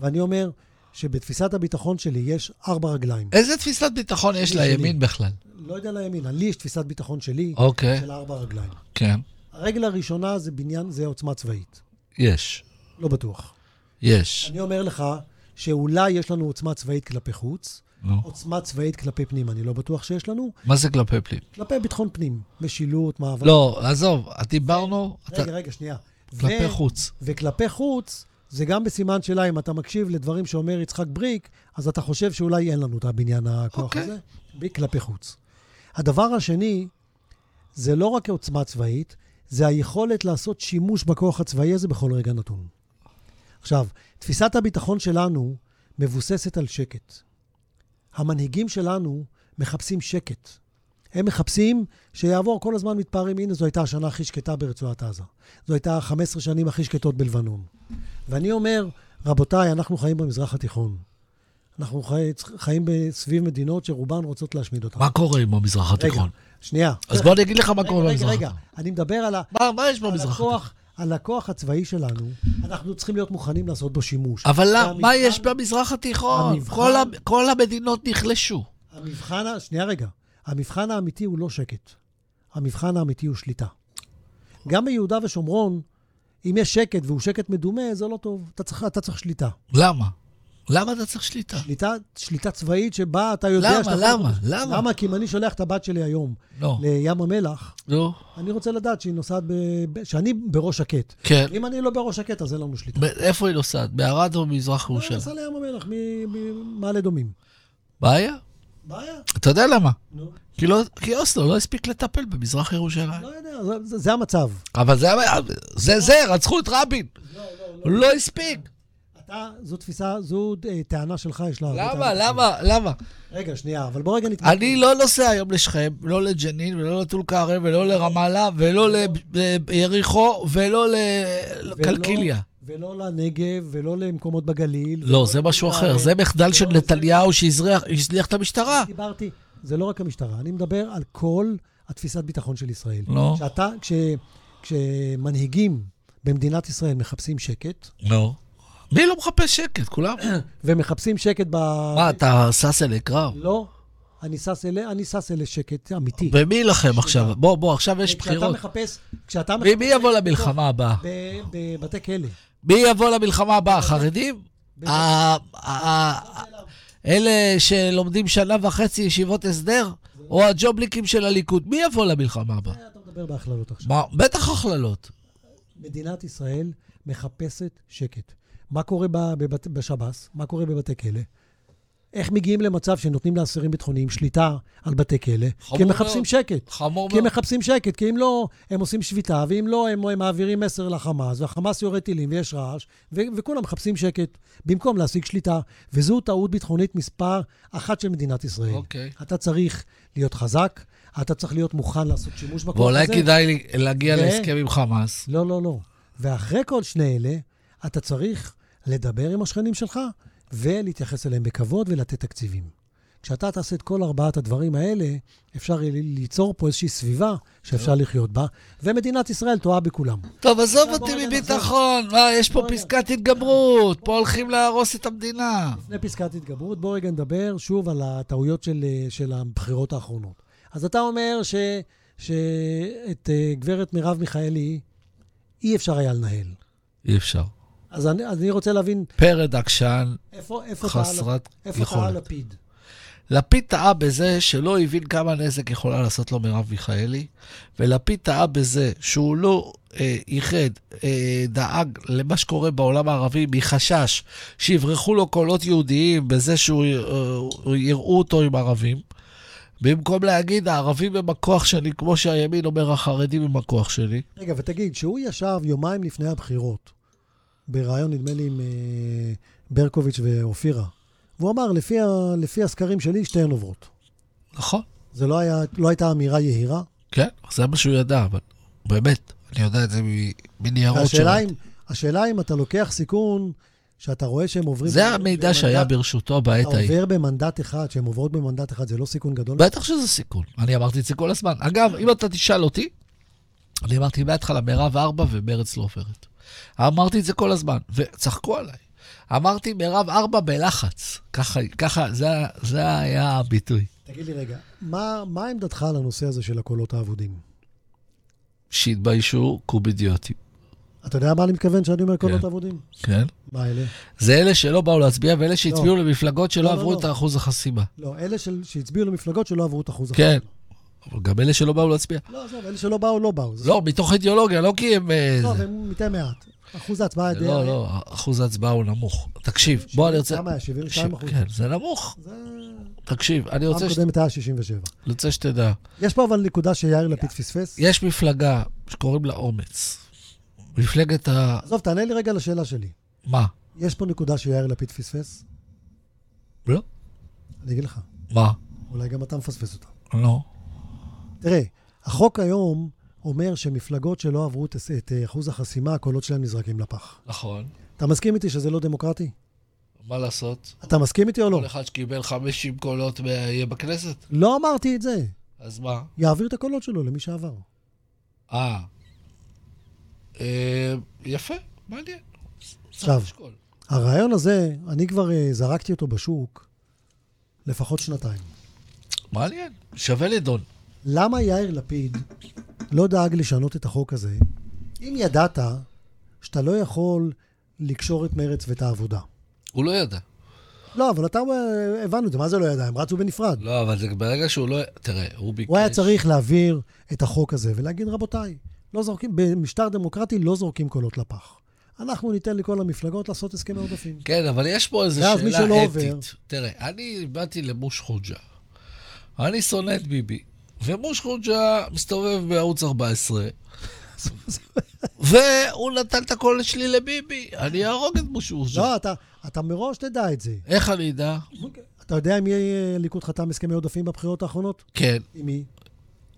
ואני אומר שבתפיסת הביטחון שלי יש ארבע רגליים. איזה תפיסת ביטחון יש לימין בכלל? לא יודע לימין, לי יש תפיסת ביטחון שלי, אוקיי, של ארבע רגליים. כן. הרגל הראשונה זה בניין, זה עוצמה צבאית. יש, לא בטוח. יש. אני אומר לך שאולי יש לנו עוצמה צבאית כלפי חוץ, נו. עוצמה צבאית כלפי פנים, אני לא בטוח שיש לנו, מה זה כלפי פנים? כלפי ביטחון פנים, משילות, מאבק. לא, עזוב, דיברנו, אתה- רגע, רגע, שנייה. כלפי ו- חוץ. וכלפי חוץ, זה גם בסימן שאלה, אם אתה מקשיב לדברים שאומר יצחק בריק, אז אתה חושב שאולי אין לנו את הבניין הכוח אוקיי. okay. הזה, ב- כלפי חוץ. הדבר השני, זה לא רק עוצמה צבאית, זה היכולת לעשות שימוש בכוח הצבאי הזה בכל רגע נתון. עכשיו, תפיסת הביטחון שלנו מבוססת על שקט. המנהיגים שלנו מחפשים שקט. הם מחפשים שיעבור כל הזמן מתפארים, הנה זו הייתה השנה הכי שקטה ברצועת עזה. זו הייתה 15 שנים הכי שקטות בלבנון. ואני אומר, רבותיי, אנחנו חיים במזרח התיכון. אנחנו חי, חיים סביב מדינות שרובן רוצות להשמיד אותנו. מה קורה עם המזרח התיכון? שנייה. אז בוא אני אגיד לך מה רגע, קורה רגע, במזרח רגע, התיכון. אני מדבר על, ה, מה- מה יש על, במזרח התיכון? הכוח, על הכוח הצבאי שלנו, אנחנו צריכים להיות מוכנים לעשות בו שימוש. אבל למה- מה והמבחן- יש במזרח התיכון? המבחן- כל ה- כל המדינות נחלשו. המבחן, ה- שנייה רגע, המבחן האמיתי הוא לא שקט. המבחן האמיתי הוא שליטה. גם ביהודה ושומרון, אם יש שקט והוא שקט מדומה, זה לא טוב. אתה צריך, אתה צריך שליטה. למה? למה אתה צריך שליטה? שליטה, שליטה צבאית שבה אתה יודע... למה? שאתה- למה? למה? למה? כי אם אני שולח את הבת שלי היום לא. לים המלח, נו. אני רוצה לדעת שהיא נוסעת ב... ב- שאני בראש שקט. כן. אם אני לא בראש שקט, אז אין לנו שליטה. ב- איפה היא נוסעת? בערד או במזרח לא, ירושלים? נסע לים המלח מ- ממעלה אדומים. בעיה? בעיה. אתה יודע למה? נו, כי לא- כי אוסלו לא הספיק לטפל במזרח ירושלים. לא יודע, זה- זה זה המצב. אבל זה, זה, זה, רצחו את רבין. לא הספיק. אתה, זו תפיסה, זו אה, טענה שלך, יש לה... הרבה למה, טענות. למה, למה? רגע, שנייה, אבל בוא רגע נתמקד. אני לא נוסע היום לשכם, לא לג'נין, ולא לטול כרם, ולא לרמאללה, ולא ל- ליריחו, ולא ולא- לא לקלקיליה. ולא לנגב, ולא למקומות בגליל. לא, זה משהו אחר, זה מחדל של נתניהו שהזריח- שהזניח את המשטרה. דיברתי, זה לא רק המשטרה, אני מדבר על כל התפיסת ביטחון של ישראל. לא. כשאתה, כש, כשמנהיגים במדינת ישראל מחפשים שקט, נו. מי לא מחפש שקט? כולם. ומחפשים שקט ב... מה, אתה שש אלי קרב? לא, אני שש אלה, אני שש אלה שקט אמיתי. במי יילחם עכשיו? בוא, בוא, עכשיו יש כשאתה בחירות. מחפש, כשאתה מי מחפש מי יבוא למלחמה הבאה? ב- בבתי כלא. מי יבוא למלחמה הבאה? החרדים? ה- ה- אלה שלומדים שנה וחצי ישיבות הסדר? או הג'ובליקים של הליכוד? מי יבוא למלחמה הבאה? אתה מדבר בהכללות עכשיו. מה, בטח הכללות. מדינת ישראל מחפשת שקט. מה קורה ב- בבת- בשב"ס? מה קורה בבתי כלא? איך מגיעים למצב שנותנים לאסירים ביטחוניים שליטה על בתי כלא? חמור כי הם מחפשים מאוד. שקט. חמור כי הם מאוד. מחפשים שקט, כי אם לא, הם עושים שביתה, ואם לא, הם, הם מעבירים מסר לחמאס, והחמאס יורה טילים ויש רעש, ו- וכולם מחפשים שקט, במקום להשיג שליטה. וזו טעות ביטחונית מספר אחת של מדינת ישראל. אוקיי. אתה צריך להיות חזק, אתה צריך להיות מוכן לעשות שימוש בכוח הזה. ואולי כדאי לי- להגיע ו- להסכם עם חמאס. לא, לא, לא. ואחרי כל שני אלה, אתה צריך לדבר עם השכנים שלך ולהתייחס אליהם בכבוד ולתת תקציבים. כשאתה תעשה את כל ארבעת הדברים האלה, אפשר יהיה ליצור פה איזושהי סביבה שאפשר כן. לחיות בה, ומדינת ישראל טועה בכולם. טוב, עזוב בוא אותי רגע מביטחון, מה, יש פה בוא רגע. פסקת התגברות, פה הולכים להרוס את המדינה. לפני פסקת התגברות, בואו רגע נדבר שוב על הטעויות של, אה, של הבחירות האחרונות. אז אתה אומר ש, שאת אה, גברת מרב מיכאלי אי אפשר היה לנהל. אי אפשר. אז אני, אז אני רוצה להבין פרד עקשן, איפה, איפה, טעה, חסרת איפה טעה יכולת. לפיד. לפיד טעה בזה שלא הבין כמה נזק יכולה לעשות לו מרב מיכאלי, ולפיד טעה בזה שהוא לא אה, ייחד, אה, דאג למה שקורה בעולם הערבי מחשש שיברחו לו קולות יהודיים בזה שהוא י- אה, יראו אותו עם ערבים. במקום להגיד, הערבים הם הכוח שלי, כמו שהימין אומר, החרדים הם הכוח שלי. רגע, ותגיד, שהוא ישב יומיים לפני הבחירות, בריאיון, נדמה לי, עם אה, ברקוביץ' ואופירה, והוא אמר, לפי, ה, לפי הסקרים שלי, שתיהן עוברות. נכון. זה לא, היה, לא הייתה אמירה יהירה. כן, זה מה שהוא ידע, אבל באמת, אני יודע את זה מ- מניירות שלו. והשאלה אם, השאלה אם אתה לוקח סיכון שאתה רואה שהם עוברים... זה המידע במנדט- שהיה ברשותו בעת אתה ההיא. עובר במנדט אחד, שהן עוברות במנדט אחד, זה לא סיכון גדול? בטח שזה סיכון. אני אמרתי את זה כל הזמן. אגב, אם אתה תשאל אותי, אני אמרתי מההתחלה, מירב ארבע ומרץ לא עוברת. אמרתי את זה כל הזמן, וצחקו עליי. אמרתי, מירב ארבע בלחץ. ככה, ככה, זה, זה היה הביטוי. תגיד לי רגע, מה, מה עמדתך על הנושא הזה של הקולות האבודים? שהתביישו קובידיוטים, אתה יודע מה אני מתכוון כשאני אומר קולות כן. אבודים? כן? מה אלה? זה אלה שלא באו להצביע ואלה שהצביעו למפלגות שלא לא, לא, עברו לא. את האחוז החסימה. לא, אלה של, שהצביעו למפלגות שלא עברו את אחוז כן. החסימה. אבל גם אלה שלא באו להצביע. לא, עזוב, אלה שלא באו, לא באו. זה לא, מתוך אידיאולוגיה, לא כי הם... אה, טוב, זה. הם מתי מעט. אחוז ההצבעה זה די... לא, לא, אחוז ההצבעה הוא נמוך. תקשיב, בוא אני רוצה... כמה היה? 72 אחוז? כן, זה נמוך. זה... תקשיב, אני פעם רוצה, ש... קודמת היה 67. אני רוצה שתדע. יש פה אבל נקודה שיאיר לפיד פספס. יש מפלגה שקוראים לה אומץ. מפלגת ה... עזוב, תענה לי רגע לשאלה שלי. מה? יש פה נקודה שיאיר לפיד פספס? לא. אני אגיד לך, מה? אולי גם אתה מפספס אותה. לא. תראה, החוק היום אומר שמפלגות שלא עברו את- את אה, אחוז החסימה, הקולות שלהן נזרקים לפח. נכון. אתה מסכים איתי שזה לא דמוקרטי? מה לעשות? אתה מסכים איתי או לא? כל אחד שקיבל 50 קולות מה- יהיה בכנסת? לא אמרתי את זה. אז מה? יעביר את הקולות שלו למי שעבר. אה. אה, יפה, מעניין. עכשיו, צריך לשקול. הרעיון הזה, אני כבר אה, זרקתי אותו בשוק לפחות שנתיים. מעניין. שווה לדון. למה יאיר לפיד לא דאג לשנות את החוק הזה, אם ידעת שאתה לא יכול לקשור את מרץ ואת העבודה? הוא לא ידע. לא, אבל אתה, אה, הבנו את זה, מה זה לא ידע? הם רצו בנפרד. לא, אבל זה ברגע שהוא לא... תראה, הוא ביקש... הוא היה צריך להעביר את החוק הזה ולהגיד, רבותיי, לא זורקים, במשטר דמוקרטי לא זורקים קולות לפח. אנחנו ניתן לכל המפלגות לעשות הסכמי עודפים. כן, אבל יש פה איזו ואז שאלה מישהו לא אתית. עובר. תראה, אני באתי למוש חוג'ה. אני שונא את ביבי, ומוש חוג'ה מסתובב בערוץ 14, והוא נתן את הקול שלי לביבי. אני אהרוג את מוש חוג'ה. לא, אתה, אתה מראש תדע את זה. איך אני אדע? אתה יודע אם יהיה אה, ליכוד חתם הסכמי עודפים בבחירות האחרונות? כן, עם מי?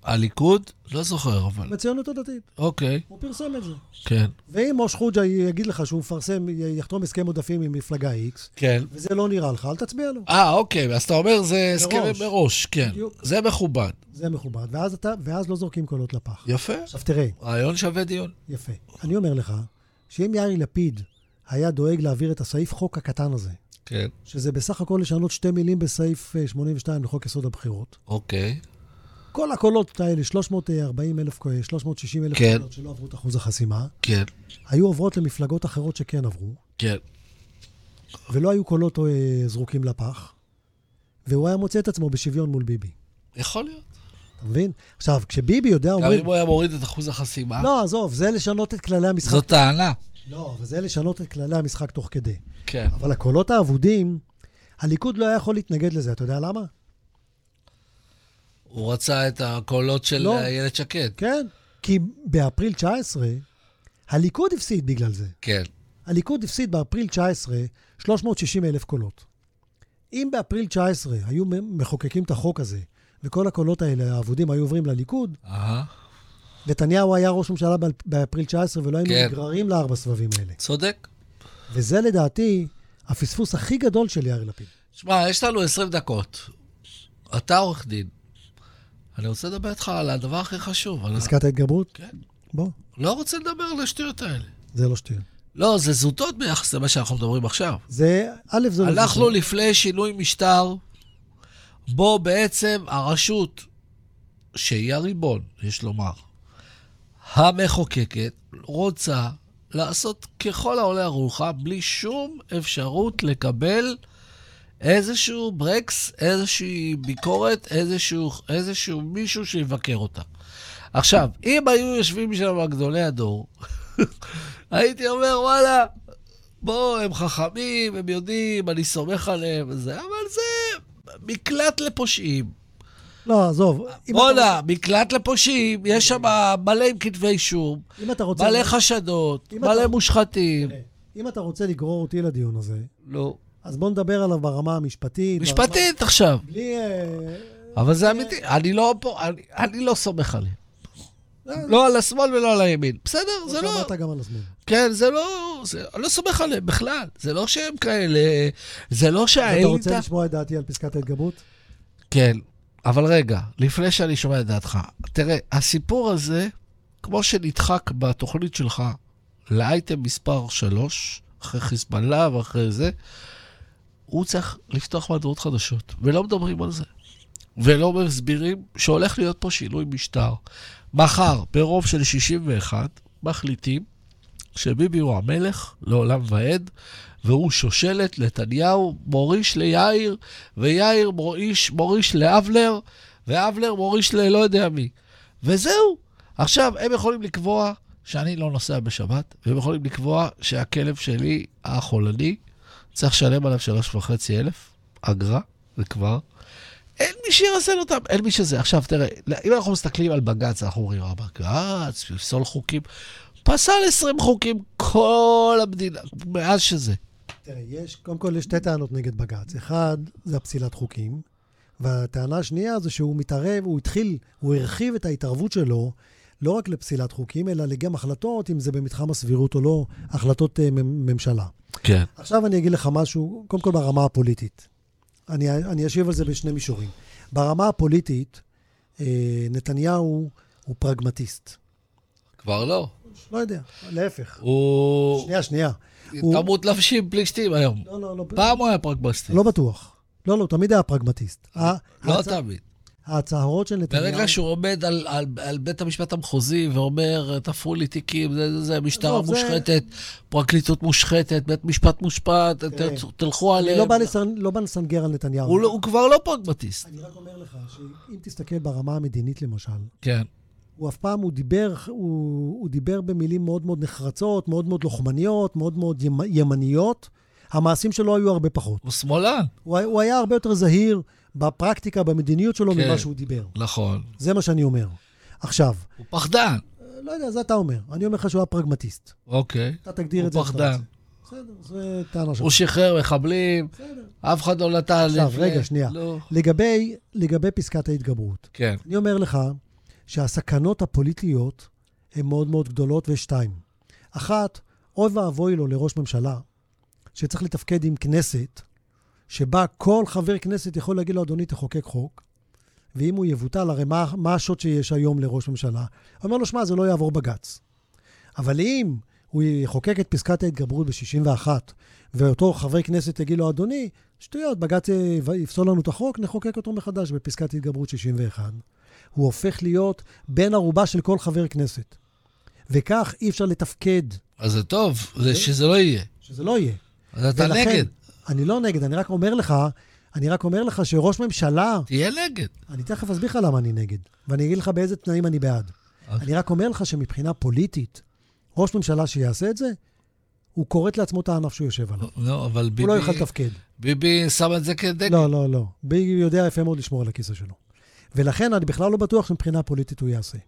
הליכוד? לא זוכר, אבל... בציונות הדתית. אוקיי, הוא פרסם את זה. כן. ואם מוש חוג'ה יגיד לך שהוא מפרסם, י- יחתום הסכם עודפים עם מפלגה X, כן. וזה לא נראה לך, אל תצביע לו. אה, אוקיי, אז אתה אומר זה הסכמים מראש. מראש, כן. בדיוק. זה מכובד. זה מכובד. ואז, אתה, ואז לא זורקים קולות לפח. יפה. עכשיו תראה, רעיון שווה דיון. יפה. אני אומר לך, שאם יאיר לפיד היה דואג להעביר את הסעיף חוק הקטן הזה, כן. שזה בסך הכל לשנות שתי מילים בסעיף אה, 82 לחוק יסוד הבחירות, אוקיי. כל הקולות האלה, 340 אלף, 360 אלף כן. קולות שלא עברו את אחוז החסימה, כן. היו עוברות למפלגות אחרות שכן עברו, כן. ולא היו קולות אה, זרוקים לפח, והוא היה מוצא את עצמו בשוויון מול ביבי. יכול להיות. אתה מבין? עכשיו, כשביבי יודע, גם אומרים... אם הוא היה מוריד את אחוז החסימה, לא, עזוב, זה לשנות את כללי המשחק. זו טענה. לא, אבל זה לשנות את כללי המשחק תוך כדי. כן. אבל הקולות האבודים, הליכוד לא היה יכול להתנגד לזה, אתה יודע למה? הוא רצה את הקולות של לא. איילת שקד. כן, כי באפריל 19, הליכוד הפסיד בגלל זה. כן. הליכוד הפסיד באפריל 19 360 אלף קולות. אם באפריל 19 היו מחוקקים את החוק הזה, וכל הקולות האלה, האבודים, היו עוברים לליכוד, אהה. נתניהו היה ראש ממשלה באל- באפריל 19 ולא היינו כן. נגררים לארבע סבבים האלה. צודק. וזה לדעתי הפספוס הכי גדול של יאיר לפיד. אה. שמע, יש לנו 20 דקות. אתה עורך דין. אני רוצה לדבר איתך על הדבר הכי חשוב. על ה- פסקת ההתגברות? כן. בוא, לא רוצה לדבר על השטויות האלה. זה לא שטויות. לא, זה זוטות ביחס למה שאנחנו מדברים עכשיו. זה, א', זה לא... אנחנו שטויות. לפני שינוי משטר, בו בעצם הרשות, שהיא הריבון, יש לומר, המחוקקת, רוצה לעשות ככל העולה על רוחה, בלי שום אפשרות לקבל איזשהו ברקס, איזושהי ביקורת, איזשהו, איזשהו מישהו שיבקר אותה. עכשיו, אם היו יושבים שם גדולי הדור, הייתי אומר, וואלה, בוא, הם חכמים, הם יודעים, אני סומך עליהם וזה, אבל זה מקלט לפושעים. לא, עזוב. אם אתה- בואנה, מקלט לפושעים, יש שם מלא עם כתבי אישום, אם אתה רוצה... מלא חשדות, אם מלא אתה- מושחתים. אם אתה רוצה לגרור אותי לדיון הזה, לא. אז בוא נדבר עליו ברמה המשפטית. ברמה- משפטית עכשיו. בלי... אה, אבל זה אמיתי, אני לא פה, אני- אני לא סומך עליהם. לא על השמאל ולא על הימין. בסדר, כמו זה לא... שאמרת גם על השמאל. כן, זה לא... זה- אני לא סומך עליהם בכלל. זה לא שהם כאלה... זה אתה לא רוצה שהאליטה... לשמוע את דעתי על פסקת ההתגברות? כן, אבל רגע, לפני שאני שומע את דעתך, תראה, הסיפור הזה, כמו שנדחק בתוכנית שלך לאייטם מספר 3, אחרי חיזבאללה ואחרי זה, הוא צריך לפתוח מהדורות חדשות, ולא מדברים על זה. ולא מסבירים שהולך להיות פה שינוי משטר. מחר, ברוב של 61, מחליטים שביבי הוא המלך לעולם ועד, והוא שושלת, נתניהו מוריש ליאיר, ויאיר מוריש, מוריש לאבלר, ואבלר מוריש ללא יודע מי. וזהו. עכשיו, הם יכולים לקבוע שאני לא נוסע בשבת, והם יכולים לקבוע שהכלב שלי, החולני, צריך לשלם עליו שלוש וחצי אלף, אגרה, זה כבר. אין מי שירסן אותם, אין מי שזה. עכשיו, תראה, אם אנחנו מסתכלים על בג"ץ, אנחנו אומרים, "אה, בג"ץ, פסול חוקים. פסל 20 חוקים כל המדינה, מאז שזה. תראה, יש, קודם כל יש שתי טענות נגד בג"ץ. אחד, זה הפסילת חוקים, והטענה השנייה זה שהוא מתערב, הוא התחיל, הוא הרחיב את ההתערבות שלו לא רק לפסילת חוקים, אלא גם החלטות, אם זה במתחם הסבירות או לא, החלטות אה, מ- ממשלה. כן. עכשיו אני אגיד לך משהו, קודם כל ברמה הפוליטית. אני, אני אשיב על זה בשני מישורים. ברמה הפוליטית, אה, נתניהו הוא פרגמטיסט. כבר לא. לא יודע, להפך. הוא... שנייה, שנייה. הוא- תמות לבשים פלישתים היום. לא, לא, לא. פעם הוא היה פרגמסטי. לא בטוח. לא, לא, הוא תמיד היה פרגמטיסט. ה- לא הצ- תמיד. ההצהרות של נתניהו... ברגע שהוא עומד על- על על בית המשפט המחוזי ואומר, תפרו לי תיקים, זה, זה, זה, משטרה עזוב, זה- מושחתת, פרקליטות מושחתת, בית משפט מושפט, תראה, ת- תלכו אני עליהם. לא בא לסנ- לא בא לסנגר על נתניהו. הוא לא- הוא כבר לא פרגמטיסט. אני רק אומר לך שאם תסתכל ברמה המדינית למשל, כן. הוא אף פעם, הוא דיבר, הוא, הוא דיבר במילים מאוד מאוד נחרצות, מאוד מאוד לוחמניות, מאוד מאוד ימ, ימניות. המעשים שלו היו הרבה פחות. הוא שמאלן. הוא, היה- הוא היה הרבה יותר זהיר בפרקטיקה, במדיניות שלו, כן. ממה שהוא דיבר. נכון. זה מה שאני אומר. עכשיו, הוא פחדן. לא יודע, זה אתה אומר. אני אומר לך שהוא היה פרגמטיסט. אוקיי. אתה תגדיר הוא את זה. איך שאתה פחדן. רוצה. בסדר, זו טענה שלך. הוא שחרר מחבלים, בסדר. אף אחד לא נתן... עכשיו, לפני- רגע, שנייה. לא. לגבי, לגבי פסקת ההתגברות, כן. אני אומר לך שהסכנות הפוליטיות הן מאוד מאוד גדולות, ויש שתיים. אחת, אוי ואבוי לו לראש ממשלה, שצריך לתפקד עם כנסת, שבה כל חבר כנסת יכול להגיד לו, אדוני, תחוקק חוק, ואם הוא יבוטל, הרי מה, מה השוט שיש היום לראש ממשלה? הוא אומר לו, שמע, זה לא יעבור בג"ץ. אבל אם הוא יחוקק את פסקת ההתגברות ב-61, ואותו חבר כנסת יגיד לו, אדוני, שטויות, בג"ץ אה, יפסול לנו את החוק, נחוקק אותו מחדש בפסקת התגברות 61. הוא הופך להיות בן ערובה של כל חבר כנסת. וכך אי אפשר לתפקד, אז זה טוב, זה שזה לא יהיה. שזה לא יהיה. אז אתה אוקיי. ולכן, נגד. אני לא נגד, אני רק אומר לך, אני רק אומר לך שראש ממשלה, תהיה נגד. אני תכף אסביר לך למה אני נגד, ואני אגיד לך באיזה תנאים אני בעד. אוקיי. אני רק אומר לך שמבחינה פוליטית, ראש ממשלה שיעשה את זה, הוא כורת לעצמו את הענף שהוא יושב עליו. לא, אבל ביבי... הוא לא יוכל לתפקד. ביבי שם את זה כדגל. לא, לא, לא. ביבי יודע יפה מאוד לשמור על הכיסא שלו. ולכן אני בכלל לא בטוח שמבחינה פוליטית הוא יעשה.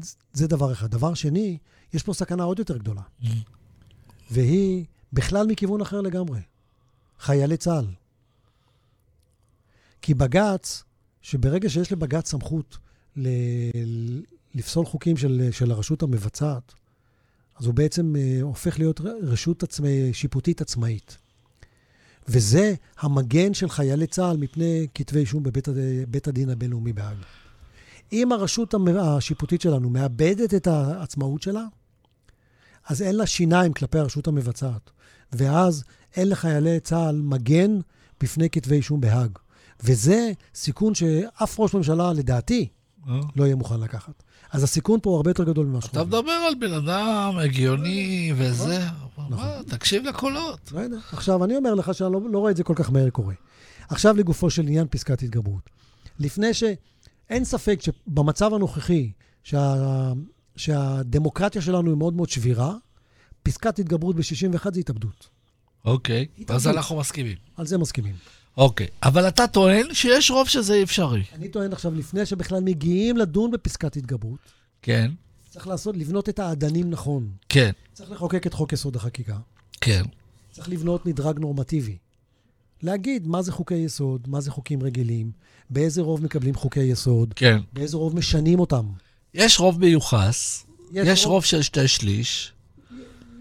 זה- זה דבר אחד. דבר שני, יש פה סכנה עוד יותר גדולה. והיא בכלל מכיוון אחר לגמרי. חיילי צה"ל. כי בג"ץ, שברגע שיש לבג"ץ סמכות ל... ל- לפסול חוקים של, של הרשות המבצעת, אז הוא בעצם אה, הופך להיות ר- רשות עצמא, שיפוטית עצמאית. וזה המגן של חיילי צה"ל מפני כתבי אישום בבית הד- בית הדין הבינלאומי בהאג. אם הרשות המ- השיפוטית שלנו מאבדת את העצמאות שלה, אז אין לה שיניים כלפי הרשות המבצעת. ואז אין לחיילי צה"ל מגן בפני כתבי אישום בהאג. וזה סיכון שאף ראש ממשלה, לדעתי, אה? לא יהיה מוכן לקחת. אז הסיכון פה הוא הרבה יותר גדול ממה אתה שחושבים. מדבר על בן אדם הגיוני נכון. וזה, אבל מה, תקשיב לקולות. לא יודע. עכשיו, אני אומר לך שאני לא, לא רואה את זה כל כך מהר קורה. עכשיו לגופו של עניין פסקת התגברות. לפני ש... אין ספק שבמצב הנוכחי, שה... שהדמוקרטיה שלנו היא מאוד מאוד שבירה, פסקת התגברות ב-61 זה התאבדות. אוקיי, אז התאבדות. אנחנו מסכימים. על זה מסכימים. אוקיי, אבל אתה טוען שיש רוב שזה אפשרי. אני טוען עכשיו, לפני שבכלל מגיעים לדון בפסקת התגברות, כן, צריך לעשות, לבנות את האדנים נכון. כן, צריך לחוקק את חוק יסוד החקיקה. כן. צריך לבנות מדרג נורמטיבי. להגיד מה זה חוקי יסוד, מה זה חוקים רגילים, באיזה רוב מקבלים חוקי יסוד, כן. באיזה רוב משנים אותם. יש רוב מיוחס, יש רוב של שתי שליש,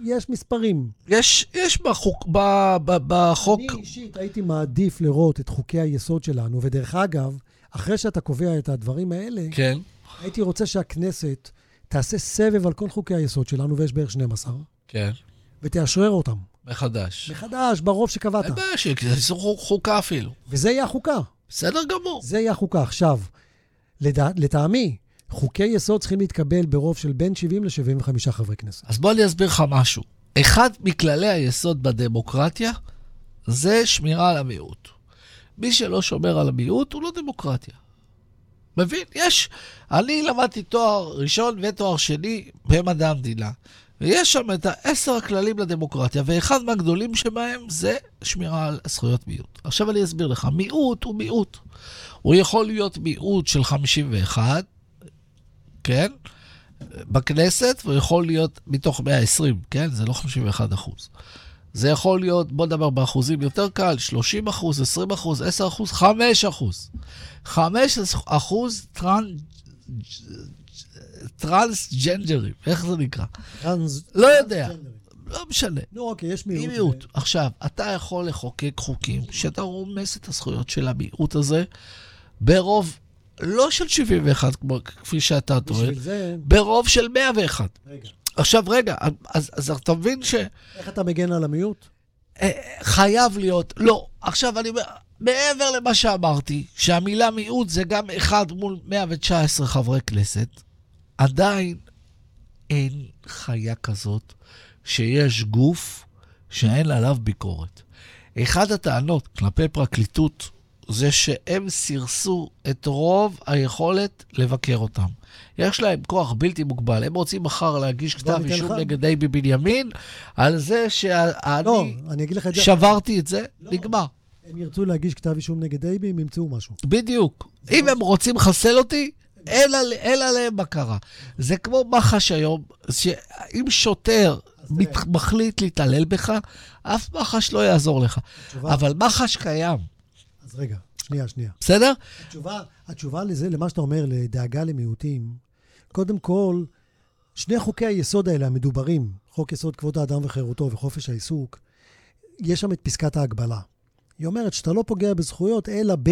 יש מספרים. יש יש בחוק, ב- ב- בחוק, אני אישית הייתי מעדיף לראות את חוקי היסוד שלנו, ודרך אגב, אחרי שאתה קובע את הדברים האלה, כן, הייתי רוצה שהכנסת תעשה סבב על כל חוקי היסוד שלנו, ויש בערך 12, כן, ותאשרר אותם. מחדש. מחדש, ברוב שקבעת. אין בעיה, שזה חוק- חוקה אפילו. וזה יהיה החוקה. בסדר גמור. זה יהיה החוקה. עכשיו, לדע- לטעמי, חוקי יסוד צריכים להתקבל ברוב של בין 70 ל-75 חברי כנסת. אז בוא אני אסביר לך משהו. אחד מכללי היסוד בדמוקרטיה זה שמירה על המיעוט. מי שלא שומר על המיעוט הוא לא דמוקרטיה. מבין? יש. אני למדתי תואר ראשון ותואר שני במדע המדינה, ויש שם את העשר הכללים לדמוקרטיה, ואחד מהגדולים שבהם זה שמירה על זכויות מיעוט. עכשיו אני אסביר לך, מיעוט הוא מיעוט. הוא יכול להיות מיעוט של 51, כן? בכנסת, והוא יכול להיות מתוך 120, כן? זה לא 51 אחוז. זה יכול להיות, בוא נדבר באחוזים יותר קל, 30 אחוז, 20 אחוז, 10 אחוז, 5 אחוז. 5 אחוז טרנ... טרנסג'נדרים, איך זה נקרא? טרנס- לא יודע, לא משנה. נו, אוקיי, יש מיעוט. היא מיעוט. עכשיו, אתה יכול לחוקק חוקים שאתה רומס את הזכויות של המיעוט הזה ברוב לא של 71, כמו- כפי שאתה טוען, בשביל זה, ברוב של 101. רגע, עכשיו, רגע, אז, אז אתה מבין איך אתה מגן על המיעוט? שחייב אה, להיות, לא, עכשיו אני אומר, מעבר למה שאמרתי, שהמילה מיעוט זה גם אחד מול 119 חברי כנסת, עדיין אין חיה כזאת שיש גוף שאין עליו ביקורת. אחת הטענות כלפי פרקליטות זה שהם סירסו את רוב היכולת לבקר אותם. יש להם כוח בלתי מוגבל, הם רוצים מחר להגיש כתב ניתן אישום לך. נגד אייבי בנימין על זה לא, שאני אני אגיד לך את זה. שברתי את זה, לא. נגמר. הם ירצו להגיש כתב אישום נגד אייבי, הם ימצאו משהו. בדיוק. אם הם רוצים לחסל אותי, אין על- אין עליהם בקרה. זה כמו מח"ש היום, שאם שוטר מת- תראה. מחליט להתעלל בך, אף מח"ש לא יעזור לך. התשובה- אבל מח"ש קיים, אז רגע, שנייה, שנייה. בסדר? התשובה, התשובה לזה, למה שאתה אומר, לדאגה למיעוטים, קודם כל, שני חוקי היסוד האלה המדוברים, חוק יסוד כבוד האדם וחירותו וחופש העיסוק, יש שם את פסקת ההגבלה. היא אומרת שאתה לא פוגע בזכויות, אלא ב...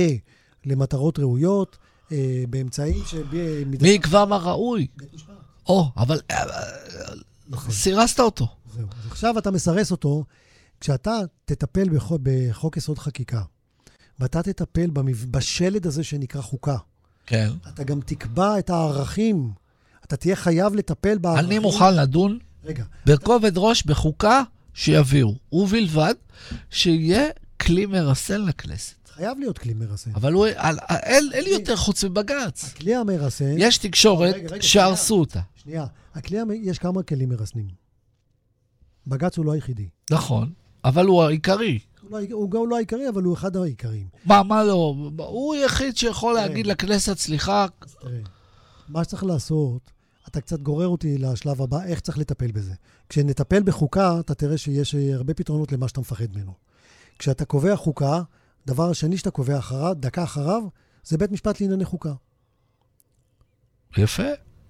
למטרות ראויות, אה, באמצעים אה, ש... מי יקבע מה ראוי? בית משפט. נכון. או, אבל אה, סירסת אותו. זהו. אז עכשיו אתה מסרס אותו, כשאתה תטפל בחוק, בחוק יסוד חקיקה, ואתה תטפל במב... בשלד הזה שנקרא חוקה, כן. אתה גם תקבע את הערכים. אתה תהיה חייב לטפל בערכים. אני מוכן לדון רגע, בכובד ראש בחוקה שיביאו, ובלבד שיהיה כלי מרסן לכנסת. חייב להיות כלי מרסן. אבל הוא, על- אין, אין לי יותר חוץ מבג"ץ. הכלי המרסן... יש תקשורת רגע, רגע, שהרסו אותה. שנייה. הכלי המ... יש כמה כלים מרסנים. בג"ץ הוא לא היחידי. נכון, אבל הוא העיקרי. הוא לא העיק- הוא גם לא העיקרי, אבל הוא אחד העיקריים. מה, מה לא? הוא היחיד כן. שיכול להגיד לכנסת, סליחה, תראה, מה שצריך לעשות, אתה קצת גורר אותי לשלב הבא, איך צריך לטפל בזה. כשנטפל בחוקה, אתה תראה שיש אה, הרבה פתרונות למה שאתה מפחד ממנו. כשאתה קובע חוקה, דבר השני שאתה קובע אחריו, דקה אחריו, זה בית משפט לענייני חוקה. יפה.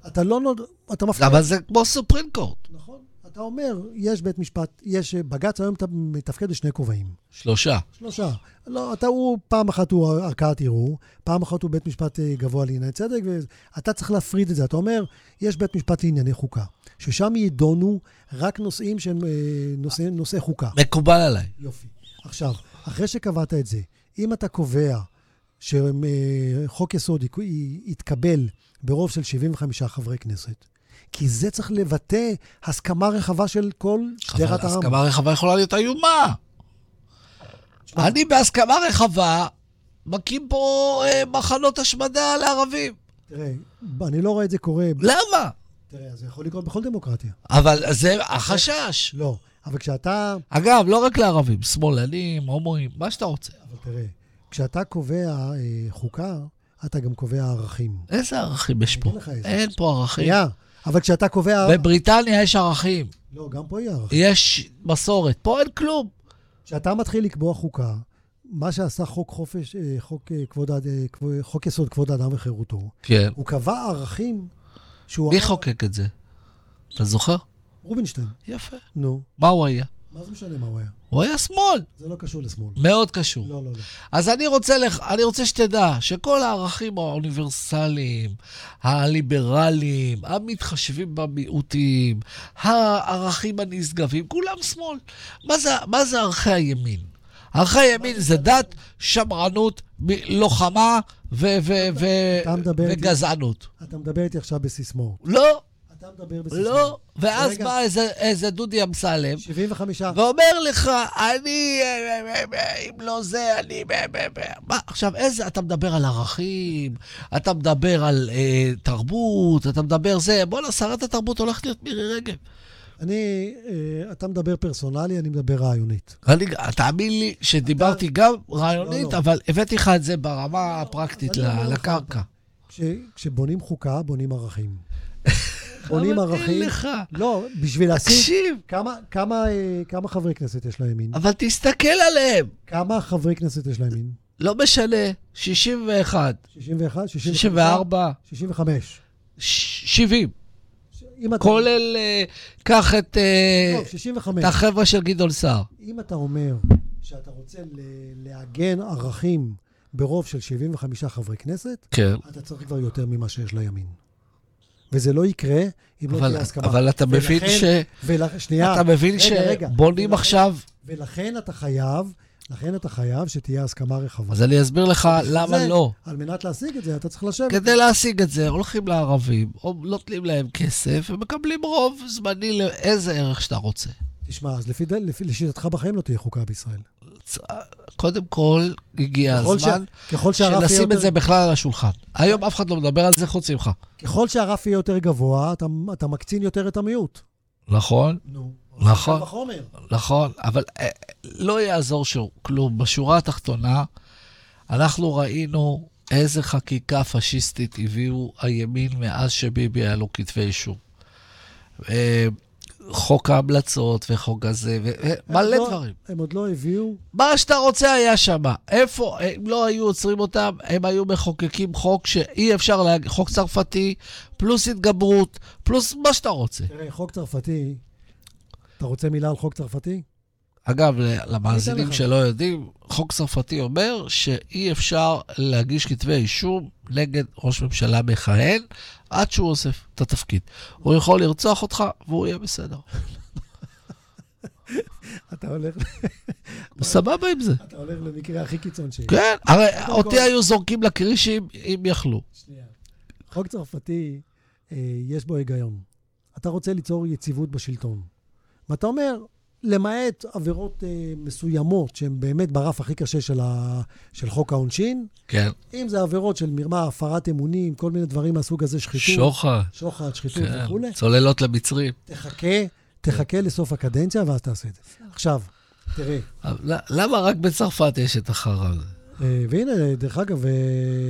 אתה לא נוד... אתה מפחד. אבל זה כמו סופרים קורט. נכון. אתה אומר, יש בית משפט, יש אה, בג"ץ, היום אתה מתפקד בשני כובעים. שלושה. שלושה. לא, אתה הוא, פעם אחת הוא ערכאת ערעור, פעם אחת הוא בית משפט אה, גבוה לענייני צדק, ואתה צריך להפריד את זה. אתה אומר, יש בית משפט לענייני חוקה, ששם יידונו רק נושאים שהם אה, נושאי, נושאי חוקה. מקובל עליי. יופי. עכשיו, אחרי שקבעת את זה, אם אתה קובע שחוק יסוד י- י- יתקבל ברוב של 75 חברי כנסת, כי זה צריך לבטא הסכמה רחבה של כל אבל שדרת העם. הסכמה רחבה יכולה להיות איומה. אני בהסכמה רחבה מקים פה אה, מחנות השמדה לערבים. תראה, אני לא רואה את זה קורה. למה? תראה, זה יכול לקרות בכל דמוקרטיה. אבל זה כן. החשש. לא, אבל כשאתה, אגב, לא רק לערבים, שמאלנים, הומואים, מה שאתה רוצה. אבל תראה, כשאתה קובע אה, חוקה, אתה גם קובע ערכים. איזה ערכים יש פה? אגיד לך איזה. אין פה ערכים. היה, אבל כשאתה קובע... בבריטניה יש ערכים, לא, גם פה יהיה ערכים. יש מסורת, פה אין כלום. כשאתה מתחיל לקבוע חוקה, מה שעשה חוק חופש, אה, חוק, אה, כבוד, האד- אה, כבוד- חוק יסוד כבוד האדם וחירותו, כן. הוא קבע ערכים שהוא... מי אמר- חוקק את זה? אתה זוכר? רובינשטיין. יפה. נו, מה הוא היה? מה זה משנה מה הוא היה? הוא היה שמאל. זה לא קשור לשמאל. מאוד קשור. לא, לא, לא. אז אני רוצה, לך, אני רוצה שתדע שכל הערכים האוניברסליים, הליברליים, המתחשבים במיעוטים, הערכים הנשגבים, כולם שמאל. מה זה, מה זה ערכי הימין? ערכי הימין זה דת, שמרנות, מ- לוחמה ו- ו- ו- אתה מדבר איתי- וגזענות. אתה מדבר איתי עכשיו בסיסמאות. לא, אתה מדבר בסיסמאות. לא. ואז רגע. בא איזה- איזה דודי אמסלם, 75. ואומר לך, אני, אה, אה, אה, אם לא זה, אני... אה, אה, אה." מה, עכשיו, איזה, אתה מדבר על ערכים, אתה מדבר על אה, תרבות, אתה מדבר זה, בואנה, שרת התרבות הולכת להיות מירי רגב. אני, אה, אתה מדבר פרסונלי, אני מדבר רעיונית. אני, תאמין לי שדיברתי גם לא, רעיונית, לא. אבל הבאתי לך את זה ברמה הפרקטית אני אומר ל- לך, לקרקע. כש, כשבונים חוקה, בונים ערכים. בונים אבל ערכים. אין לך. לא, בשביל להשיג... תקשיב, כמה, כמה, אה, כמה חברי כנסת יש לימין? אבל תסתכל עליהם. כמה חברי כנסת יש לימין? לא משנה, 61, 61? 65? 64, 65. ש- 70, ש- אם אתה... כולל, אה, קח את... אה, טוב, 65. את החבר'ה של גדעון סער. אם אתה אומר שאתה רוצה ל- לעגן ערכים ברוב של 75 חברי כנסת, כן. אתה צריך כבר יותר ממה שיש לימין. וזה לא יקרה אם לא אבל, תהיה הסכמה. אבל אתה מבין ולכן- ש... ול... שנייה. אתה מבין רגע, רגע. שבונים ולכן- עכשיו... ולכן אתה חייב, לכן אתה חייב שתהיה הסכמה רחבה. אז אני אסביר לך למה זה, לא. על מנת להשיג את זה, אתה צריך לשבת. כדי להשיג את זה, הולכים לערבים, או נותנים להם כסף, ומקבלים רוב זמני לאיזה ערך שאתה רוצה. תשמע, אז לפי, דל- לפי, לשיטתך בחיים לא תהיה חוקה בישראל. צ- אה, קודם כל, הגיע ככל הזמן ש- ככל שהרף יהיה שנשים יותר- את זה בכלל על השולחן. היום אף אחד לא מדבר על זה חוץ ממך. ככל שהרף יהיה יותר גבוה, אתה, אתה מקצין יותר את המיעוט. נכון, נו. נכון. קל וחומר. נכון, אבל אה, לא יעזור שום כלום. בשורה התחתונה, אנחנו ראינו איזה חקיקה פשיסטית הביאו הימין מאז שביבי היה לו כתבי אישום. אה, חוק ההמלצות וחוק הזה, הם עוד ומלא לא- דברים. הם עוד לא הביאו, מה שאתה רוצה היה שם. איפה, אם לא היו עוצרים אותם, הם היו מחוקקים חוק שאי אפשר להגיד, חוק צרפתי, פלוס התגברות, פלוס מה שאתה רוצה. תראה, חוק צרפתי, אתה רוצה מילה על חוק צרפתי? אגב, למאזינים לך. שלא יודעים, חוק צרפתי אומר שאי אפשר להגיש כתבי אישום נגד ראש ממשלה מכהן עד שהוא אוסף את התפקיד. הוא יכול לרצוח אותך והוא יהיה בסדר. אתה הולך, הוא סבבה עם זה. אתה הולך למקרה הכי קיצון שיש. כן, הרי קודם כל- אותי היו זורקים לקרישים אם יכלו. שנייה. חוק צרפתי, אה, יש בו היגיון. אתה רוצה ליצור יציבות בשלטון. ואתה אומר, למעט עבירות אה, מסוימות, שהן באמת ברף הכי קשה של, ה, של חוק העונשין, כן. אם זה עבירות של מרמה, הפרת אמונים, כל מיני דברים מהסוג הזה, שחיתות, שוחד, שוחד, שחיתות כן. וכולי, צוללות למצרים. תחכה, תחכה לסוף הקדנציה ואז תעשה את זה. עכשיו, תראי, אבל למה רק בצרפת יש את החרא הזה? אה, והנה, דרך אגב, אה,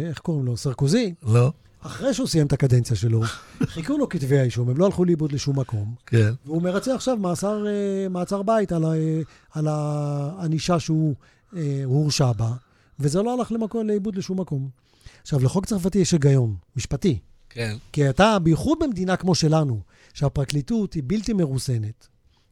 איך קוראים לו? סרקוזי, לא? אחרי שהוא סיים את הקדנציה שלו, חיכו לו כתבי האישום, הם לא הלכו לאיבוד לשום מקום, כן. והוא מרצה עכשיו מאסר, אה, מעצר בית על, ה- אה, על הענישה שהוא אה, הוא הורשע בה, וזה לא הלך למקום, לאיבוד לשום מקום. עכשיו, לחוק צרפתי יש היגיון, משפטי. כן. כי אתה, בייחוד במדינה כמו שלנו, שהפרקליטות היא בלתי מרוסנת,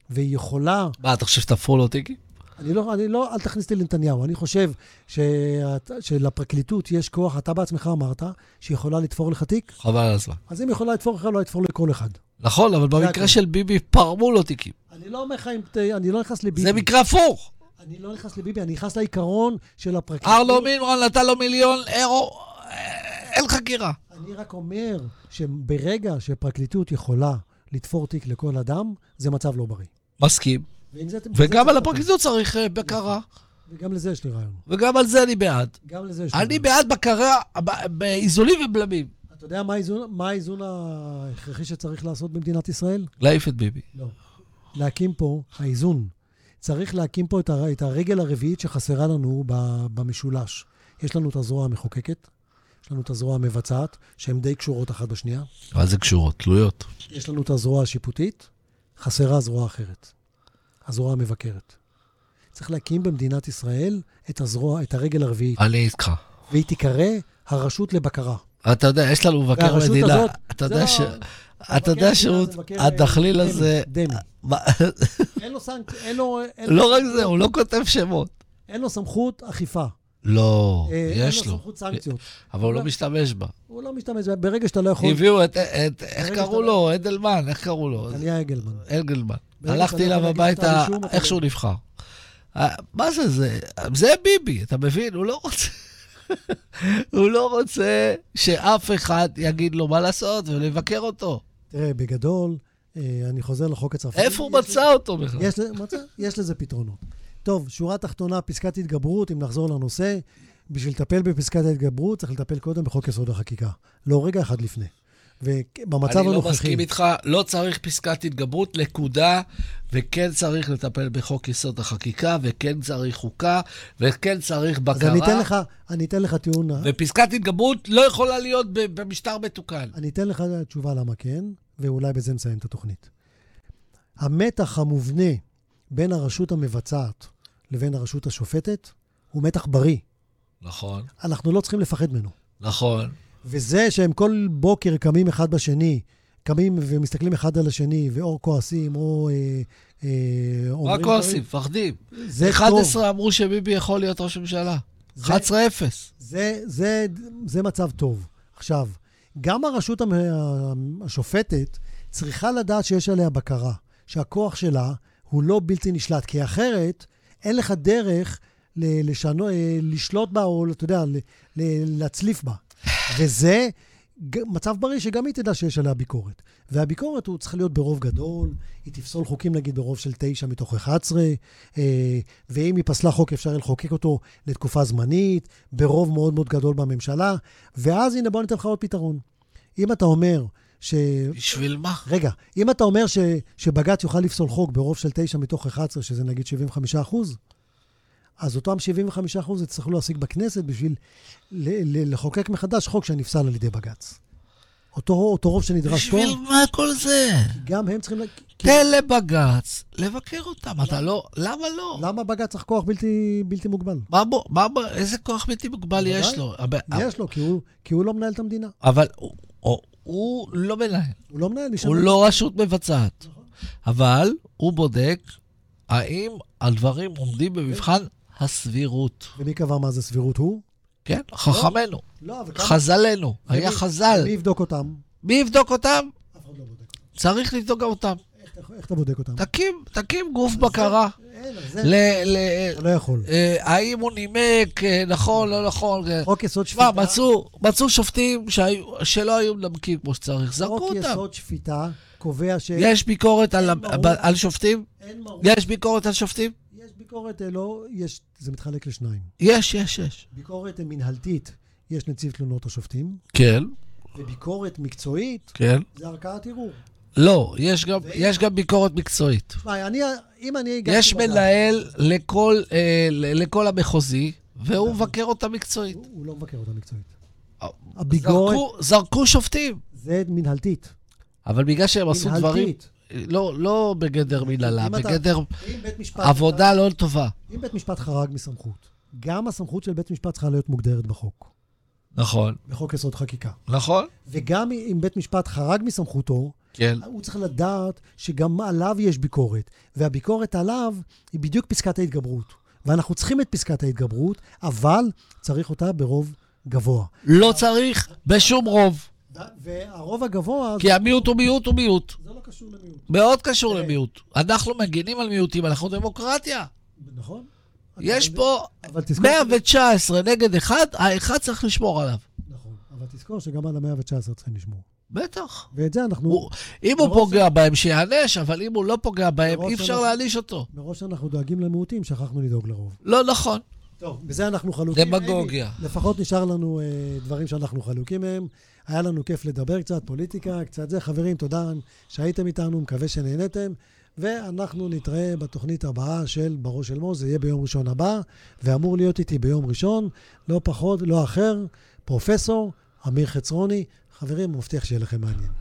והיא יכולה... מה, אתה חושב שתפרו לו תיקי? אני לא, אני לא, אל תכניס אותי לנתניהו. אני חושב שאת, שלפרקליטות יש כוח, אתה בעצמך אמרת, שהיא יכולה לתפור לך תיק, חבל על הזמן. אז אם היא יכולה לתפור לך, לא לתפור לכל אחד. נכון, אבל הכל. במקרה של ביבי פרמו לו תיקים. אני לא אומר לך אם... ת- אני לא נכנס לביבי. זה מקרה הפוך. אני לא נכנס לביבי, אני נכנס לעיקרון של הפרקליטות. ארלו מילרון נתן לו לא מיליון אירו, אה, אין חקירה. אני רק אומר שברגע שפרקליטות יכולה לתפור תיק לכל אדם, זה מצב לא בריא. מסכים. ועם זה- ועם זה צריך וגם על לטפל. הפרקליטות צריך אה, בקרה, וגם לזה יש לי רעיון. וגם על זה אני בעד. גם לזה יש לי אני רעיון. בעד בקרה ב- באיזונים ובלמים. אתה יודע מה האיזון, מה האיזון ההכרחי שצריך לעשות במדינת ישראל? להעיף את ביבי. לא. להקים פה, האיזון. צריך להקים פה את, הר, את הרגל הרביעית שחסרה לנו ב, במשולש. יש לנו את הזרוע המחוקקת, יש לנו את הזרוע המבצעת, שהן די קשורות אחת בשנייה. מה זה קשורות? תלויות. יש לנו את הזרוע השיפוטית, חסרה הזרוע האחרת, הזרוע המבקרת. צריך להקים במדינת ישראל את הזרוע, את הרגל הרביעית, אני איתך. והיא תיקרא הרשות לבקרה. אתה יודע, יש לנו מבקר והרשות מדינה. הזאת, אתה זה יודע לא- ש... אתה מבקר יודע המדינה שהוא... זה מבקר, הדחליל אה, הזה... דמי, דמי. מה- אין לו סנקציה, אין לו... אין לו- לא רק זה, הוא לא כותב שמות. אין לו סמכות אכיפה. לא, אה, יש אין לו לו. סמכות סנקציות. אבל הוא לא משתמש בה. הוא לא משתמש, ברגע שאתה לא יכול... הביאו את... את- איך ברגע קראו שאתה- לו? אדלמן, איך קראו לו? טליה עגלמן. אנגלמן. ברגע הלכתי שאתה לא אליו יכול להגיש כתב הביתה אישום, אתה איך שהוא נבחר. אה, מה זה זה? זה ביבי, אתה מבין? הוא לא רוצה... הוא לא רוצה שאף אחד יגיד לו מה לעשות ולבקר אותו. תראה, בגדול, אה, אני חוזר לחוק הצרפתי. איפה הוא יש לזה- מצא אותו בכלל? יש לזה- מצא- יש לזה פתרונות. טוב, שורה תחתונה, פסקת התגברות, אם נחזור לנושא. בשביל לטפל בפסקת ההתגברות, צריך לטפל קודם בחוק יסוד החקיקה. לא רגע אחד לפני. ובמצב אני לא הנוכחי... מסכים איתך, לא צריך פסקת התגברות, נקודה, וכן צריך לטפל בחוק יסוד החקיקה, וכן צריך חוקה, וכן צריך אז אני אתן בקרה, לך, אני אתן לך טיעון, ופסקת התגברות לא יכולה להיות ב- במשטר מתוקן. אני אתן לך תשובה למה כן, ואולי בזה נסיים את התוכנית. המתח המובנה בין הרשות המבצעת לבין הרשות השופטת הוא מתח בריא. נכון, אנחנו לא צריכים לפחד ממנו. נכון. וזה שהם כל בוקר קמים אחד בשני, קמים ומסתכלים אחד על השני, ואו כועסים, או... אה, אה, מה אומרים כועסים? מפחדים. דברים, זה טוב. 11 אמרו שביבי יכול להיות ראש ממשלה. זה- 11-0. זה, זה, זה מצב טוב. עכשיו, גם הרשות המ- השופטת צריכה לדעת שיש עליה בקרה, שהכוח שלה הוא לא בלתי נשלט, כי אחרת אין לך דרך ל- לשנו, אה, לשלוט בה או, אתה יודע, ל- ל- להצליף בה. וזה ג- מצב בריא שגם היא תדע שיש עליה ביקורת. והביקורת הוא צריך להיות ברוב גדול, היא תפסול חוקים נגיד ברוב של 9 מתוך 11, אה, ואם היא פסלה חוק אפשר יהיה לחוקק אותו לתקופה זמנית, ברוב מאוד מאוד גדול בממשלה, ואז הנה בוא ניתן לך עוד פתרון. אם אתה אומר ש... בשביל מה? רגע, אם אתה אומר ש... שבג"ץ יוכל לפסול חוק ברוב של 9 מתוך 11, שזה נגיד 75 אחוז, אז אותם 75 אחוז יצטרכו להשיג בכנסת בשביל ל... ל... לחוקק מחדש חוק שנפסל על ידי בג"ץ. אותו, אותו רוב שנדרש פה, בשביל כן. מה כל זה? גם הם צריכים... לה- כי- תן לבג"ץ לבקר אותם. אתה לא... למה לא? למה בג"ץ צריך כוח בלתי, בלתי מוגבל? מה בו, מה בו, איזה כוח בלתי מוגבל בוודאי. יש לו? אבל- יש לו, כי הוא, כי הוא לא מנהל את המדינה. אבל הוא- הוא- הוא לא מנהל, הוא לא מנהל, יש הוא לנו- לא רשות מבצעת. אבל הוא בודק האם הדברים עומדים במבחן הסבירות. ומי קבע מה זה סבירות הוא? כן, חכמינו, לא, אבל חז"לנו, היה ומי- חז"ל. מי יבדוק אותם? מי יבדוק אותם? אף אחד לא בודק. צריך לבדוק גם אותם. איך אתה- איך אתה בודק אותם? תקים, תקים גוף בקרה. אין, אז זה... ל- ל- אתה לא יכול. אה, האם הוא נימק, אה, נכון, לא נכון. אה. חוק יסוד תשמע, שפיטה, מצאו- מצאו שופטים שהיו- שלא היו מנמקים כמו שצריך, זרקו חוק אותם. יסוד שפיטה קובע שאין יש ביקורת על, ברור. על שופטים? מרות, יש ביקורת על שופטים? יש ביקורת, אה, לא, יש, זה מתחלק לשניים. יש, יש, יש. ביקורת אה, מנהלתית, יש נציב תלונות השופטים, כן, וביקורת מקצועית, כן. זה ערכאת ערעור. לא, יש גם, יש גם ביקורת מקצועית. תשמע, אני, אם אני הגעתי... יש בגן, מנהל לכל, אה, ל- לכל המחוזי, והוא מבקר אותה מקצועית. הוא הוא לא מבקר אותה מקצועית. אה, הביקורת זרקו- זרקו שופטים, זה מנהלתית. אבל בגלל שהם עשו דברים... מנהלתית. לא, לא בגדר מנהלה, אם אתה- בגדר אם בית משפט... עבודה לא טובה. אם בית משפט חרג מסמכות, גם הסמכות של בית משפט צריכה להיות מוגדרת בחוק, נכון, בחוק יסוד חקיקה. נכון. וגם אם בית משפט חרג מסמכותו, כן. הוא צריך לדעת שגם עליו יש ביקורת, והביקורת עליו היא בדיוק פסקת ההתגברות. ואנחנו צריכים את פסקת ההתגברות, אבל צריך אותה ברוב גבוה. לא צריך בשום רוב, והרוב הגבוה, כי המיעוט הוא מיעוט הוא מיעוט. זה לא קשור למיעוט. מאוד קשור אה. למיעוט. אנחנו מגינים על מיעוטים, אנחנו דמוקרטיה. נכון? יש אבל- פה אבל תזכור, 119 נגד אחד, האחד צריך לשמור עליו. נכון, אבל תזכור שגם על המאה ה-19 צריכים לשמור. בטח. ואת זה אנחנו... הוא- אם הוא מרוב פוגע בהם, שיענש, אבל אם הוא לא פוגע בהם, מרוב אי אפשר שאנחנו- להעניש אותו. מראש שאנחנו דואגים למיעוטים, שכחנו לדאוג לרוב. לא נכון. טוב, בזה אנחנו חלוקים. דמגוגיה. אלי. לפחות נשאר לנו אה, דברים שאנחנו חלוקים מהם. היה לנו כיף לדבר קצת, פוליטיקה, קצת זה. חברים, תודה שהייתם איתנו, מקווה שנהנתם. ואנחנו נתראה בתוכנית הבאה של בראש של מוז, זה יהיה ביום ראשון הבא, ואמור להיות איתי ביום ראשון, לא פחות, לא אחר, פרופסור אמיר חצרוני. חברים, הוא מבטיח שיהיה לכם מעניין.